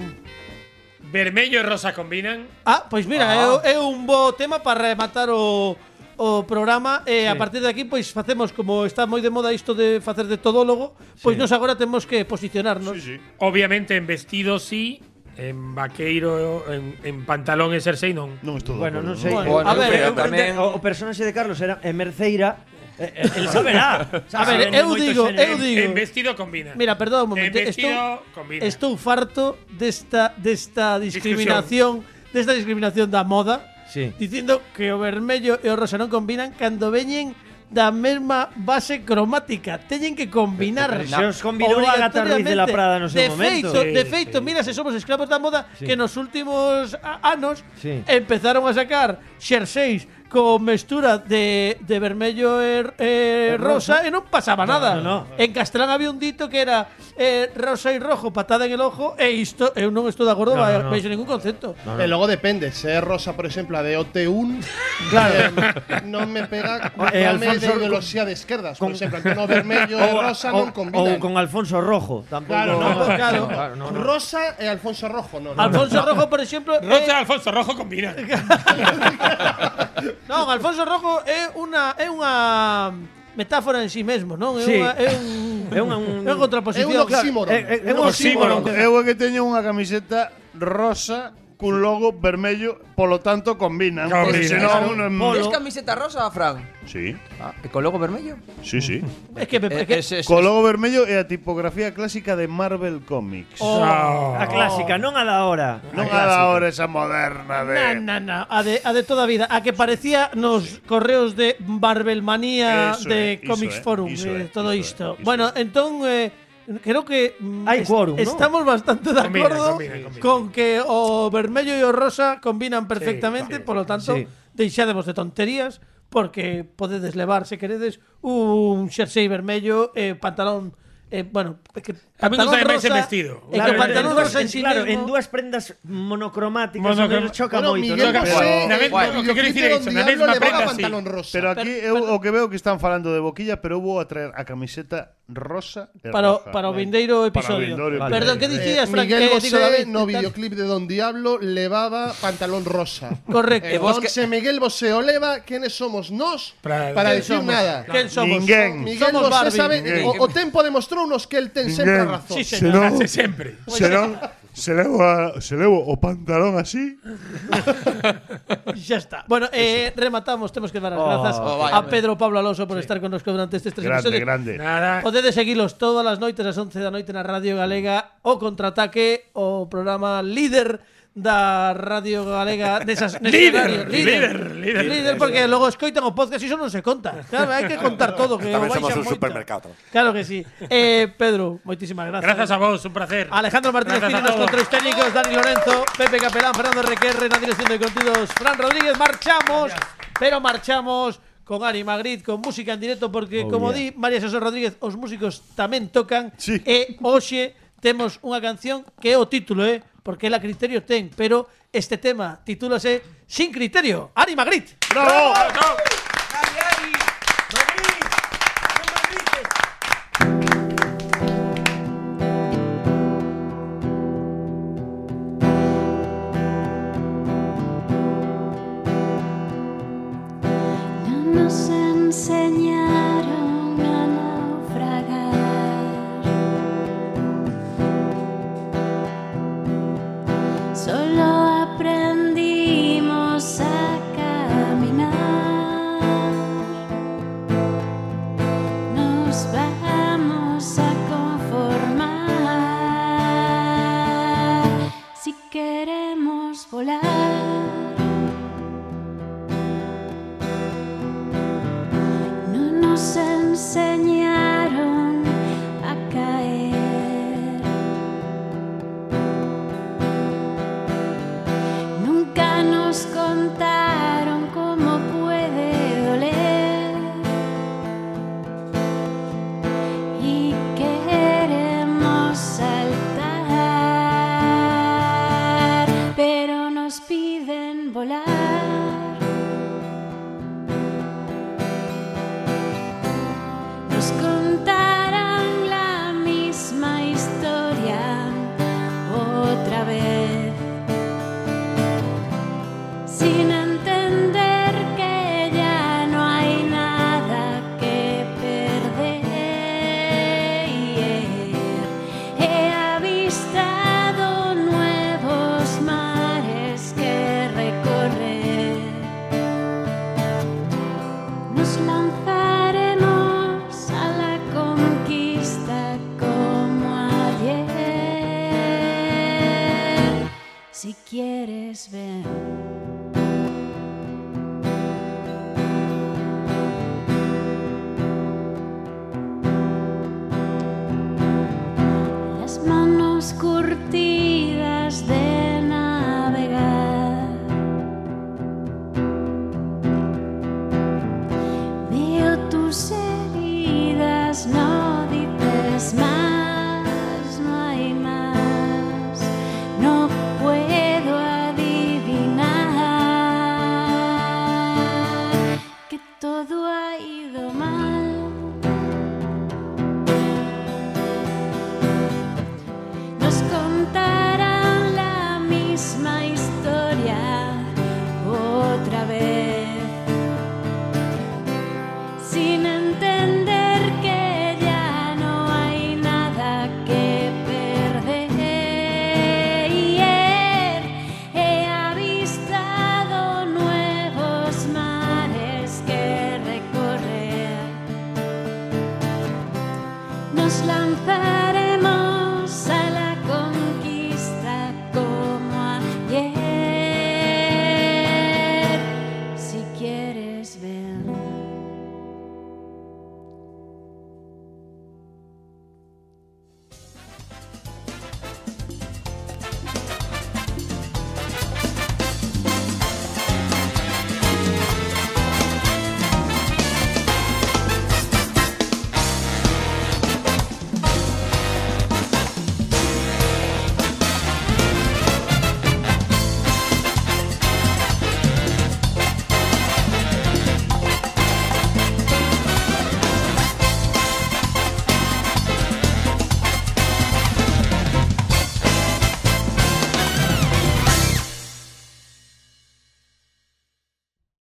Speaker 6: Vermello e rosa combinan.
Speaker 3: Ah.
Speaker 2: Ah, pois mira, é, é un bo tema para rematar o o programa e a partir de aquí pois facemos como está moi de moda isto de facer de todólogo, pois nos agora temos que posicionarnos.
Speaker 3: Sí, sí.
Speaker 6: Obviamente en vestido sí, en vaqueiro, en, en pantalón e jersey non.
Speaker 3: Non estou de
Speaker 5: Bueno,
Speaker 3: acordo,
Speaker 5: non sei.
Speaker 2: Bueno, a ver, eu
Speaker 5: eu- eu-
Speaker 4: tamén-
Speaker 5: o, o personaxe de Carlos era en Merceira. Eh, eh, el saberá.
Speaker 2: A ver, eu digo, eu
Speaker 6: En-
Speaker 2: digo.
Speaker 6: En vestido combina.
Speaker 2: Mira, perdón un momento.
Speaker 6: En vestido
Speaker 2: Estou,
Speaker 6: combina.
Speaker 2: estou farto desta desta discriminación, desta discriminación da moda,
Speaker 5: Sí.
Speaker 2: dicindo que o vermello e o rosa non combinan cando veñen da mesma base cromática. Teñen que combinar.
Speaker 5: Pero se os combinou a Agatha Ruiz de la Prada no seu
Speaker 2: de
Speaker 5: momento.
Speaker 2: Feito,
Speaker 6: Sí,
Speaker 2: de feito,
Speaker 6: sí.
Speaker 2: mira, se somos esclavos da moda
Speaker 5: Sí.
Speaker 2: que nos últimos a- anos
Speaker 5: Sí.
Speaker 2: empezaron a sacar xerseis con mestura de, de vermello e, e rosa e non pasaba nada.
Speaker 5: no, no.
Speaker 2: En castelán había un dito que era eh, rosa e rojo, patada en el ojo e isto eu non estou de acordo,
Speaker 5: No,
Speaker 2: no,
Speaker 5: no, no.
Speaker 2: no, veixo ningún concepto.
Speaker 7: E logo depende, se é rosa, por exemplo, a de OT1 Claro Non me pega Non
Speaker 5: Eh,
Speaker 7: me de
Speaker 5: Alfonso,
Speaker 7: ideoloxía de esquerdas
Speaker 5: con-
Speaker 7: Por exemplo, Antonio Vermelho e Rosa non
Speaker 5: ou
Speaker 7: combinan
Speaker 5: con Alfonso Rojo, tampouco.
Speaker 7: Claro, no,
Speaker 2: claro.
Speaker 5: <laughs> claro, no, no.
Speaker 7: Rosa e Alfonso Rojo non, non.
Speaker 2: Alfonso Rojo, por exemplo, é-
Speaker 6: Rosa Alfonso Rojo combina.
Speaker 2: <laughs> Non, Alfonso Rojo é unha é unha metáfora en si sí mesmo, non? É
Speaker 5: Sí.
Speaker 2: unha é un
Speaker 5: É unha- un-
Speaker 2: é unha
Speaker 7: É
Speaker 2: contraposición.
Speaker 7: un oxímoron
Speaker 5: É, é, é un oxímoron.
Speaker 3: Eu é que teño unha camiseta rosa cun logo vermello, polo tanto combinan.
Speaker 6: Combina.
Speaker 3: Porque senón non
Speaker 4: ¿Es
Speaker 3: é...
Speaker 4: camiseta rosa, Fran?
Speaker 3: Sí,
Speaker 4: Ah, ¿y ¿Con logo vermelho?
Speaker 3: sí, sí.
Speaker 2: Es que me es que,
Speaker 4: Eh, Es- es-
Speaker 3: Co logo vermello é a tipografía clásica de Marvel Comics.
Speaker 2: Oh,
Speaker 5: A clásica, non a da hora.
Speaker 3: non a da hora esa moderna de...
Speaker 2: na, na, na, a de a de toda vida, a que parecía nos correos de Marvelmanía
Speaker 3: Eso
Speaker 2: de
Speaker 3: é, iso
Speaker 2: Comics
Speaker 3: é,
Speaker 2: Forum,
Speaker 3: iso
Speaker 2: eh,
Speaker 3: é,
Speaker 2: todo
Speaker 3: iso
Speaker 2: isto.
Speaker 3: é, iso
Speaker 2: bueno,
Speaker 3: é.
Speaker 2: entón eh, creo que mm,
Speaker 5: Hai quórum, ¿no?
Speaker 2: estamos bastante de
Speaker 6: Combina,
Speaker 2: acordo
Speaker 6: combina, combina.
Speaker 2: con que o vermello e o rosa combinan perfectamente,
Speaker 6: sí,
Speaker 2: por lo tanto,
Speaker 5: sí.
Speaker 2: deixademos de tonterías porque podedes levar, se queredes, un xersei vermello e pantalón Eh, bueno, é que
Speaker 6: A mí
Speaker 2: pantalón
Speaker 6: gusta máis
Speaker 2: rosa,
Speaker 6: ese vestido.
Speaker 2: é que
Speaker 6: Claro,
Speaker 2: o pantalón
Speaker 5: en
Speaker 6: dúas-
Speaker 2: rosa en sí
Speaker 5: claro,
Speaker 2: mesmo-
Speaker 5: en dúas prendas monocromáticas
Speaker 6: Monocrom-
Speaker 5: Monocrom choca
Speaker 7: Bueno,
Speaker 5: moito. non?
Speaker 7: Miguel Bosé
Speaker 6: Guai. Na
Speaker 7: eh,
Speaker 6: mesma-
Speaker 7: no
Speaker 6: o que quero
Speaker 7: videoclip
Speaker 6: dicir é
Speaker 7: de
Speaker 6: iso,
Speaker 7: Don
Speaker 6: na
Speaker 7: Diablo
Speaker 6: mesma
Speaker 7: levaba
Speaker 6: prenda, sí.
Speaker 7: pantalón rosa
Speaker 3: Pero aquí
Speaker 2: Pero-
Speaker 3: eu
Speaker 2: pero-
Speaker 3: o que veo que están falando de boquilla, pero eu vou a traer a camiseta rosa e
Speaker 2: para, o-
Speaker 3: roja.
Speaker 2: para o vindeiro episodio.
Speaker 3: vindeiro episodio.
Speaker 2: Perdón, ¿qué
Speaker 3: Eh,
Speaker 2: decías, Frank?
Speaker 7: Miguel
Speaker 2: Eh, digo,
Speaker 7: Bosé
Speaker 2: David,
Speaker 7: no
Speaker 2: ¿qué tal?
Speaker 7: videoclip de Don Diablo levaba pantalón rosa
Speaker 2: Correcto.
Speaker 7: Eh, Entonces Miguel Bosé o leva ¿Quiénes somos nos?
Speaker 6: Pra-
Speaker 7: Para,
Speaker 6: ¿Quién
Speaker 7: decir nada
Speaker 2: ¿Quién somos?
Speaker 3: Ninguén.
Speaker 7: Miguel
Speaker 2: Somos
Speaker 7: Bosé
Speaker 2: Barbie.
Speaker 7: sabe
Speaker 3: Ninguén.
Speaker 7: o, o tempo demostrounos que el ten sempre a
Speaker 3: Ninguén.
Speaker 7: razón
Speaker 2: Sí, señor.
Speaker 6: Case sempre.
Speaker 3: Senón, se levo, a, se levo o pantalón así,
Speaker 2: <laughs> Ya está. Bueno, eh, rematamos. Tenemos que dar las
Speaker 5: Oh,
Speaker 2: gracias
Speaker 4: oh, vaya,
Speaker 2: a
Speaker 4: vaya.
Speaker 2: Pedro Pablo Alonso por estar con nosotros durante estos tres
Speaker 3: grande,
Speaker 2: episodios.
Speaker 3: grande.
Speaker 6: Nada.
Speaker 2: Podedes seguilos todas las noites ás 11 da noite na Radio Galega o Contraataque, o programa líder da Radio Galega desas nese
Speaker 6: Líder,
Speaker 2: horario.
Speaker 6: líder, líder.
Speaker 2: líder porque logo escoitan o podcast e iso non se conta. Claro, hai que contar todo que
Speaker 8: Tamén
Speaker 2: o vais
Speaker 8: somos
Speaker 2: a
Speaker 8: un
Speaker 2: moito.
Speaker 8: supermercado.
Speaker 2: Claro que sí. Eh, Pedro, moitísimas gracias.
Speaker 6: Gracias a vos, un placer.
Speaker 2: Alejandro Martínez
Speaker 6: Gracias
Speaker 2: Pini,
Speaker 6: a
Speaker 2: los
Speaker 6: todos.
Speaker 2: controles técnicos, Dani Lorenzo, Pepe Capelán, Fernando Requerre, la dirección de contenidos, Fran Rodríguez. Marchamos, pero marchamos con Ari Magritte, con música en directo, porque, como di María José Rodríguez, os músicos tamén tocan.
Speaker 3: Sí.
Speaker 2: E hoxe temos unha canción que é o título, eh? porque la criterio ten, pero este tema titúlase Sin criterio, Ari Magritte.
Speaker 3: ¡Bravo!
Speaker 10: No nos enseñaron a naufragar, solo aprendimos a caminar. Nos vamos a conformar si queremos volar. No nos enseñaron a caer. Nunca nos contaron cómo puede doler. Y queremos saltar, pero nos piden volar. Nos
Speaker 7: Si quieres ver. er,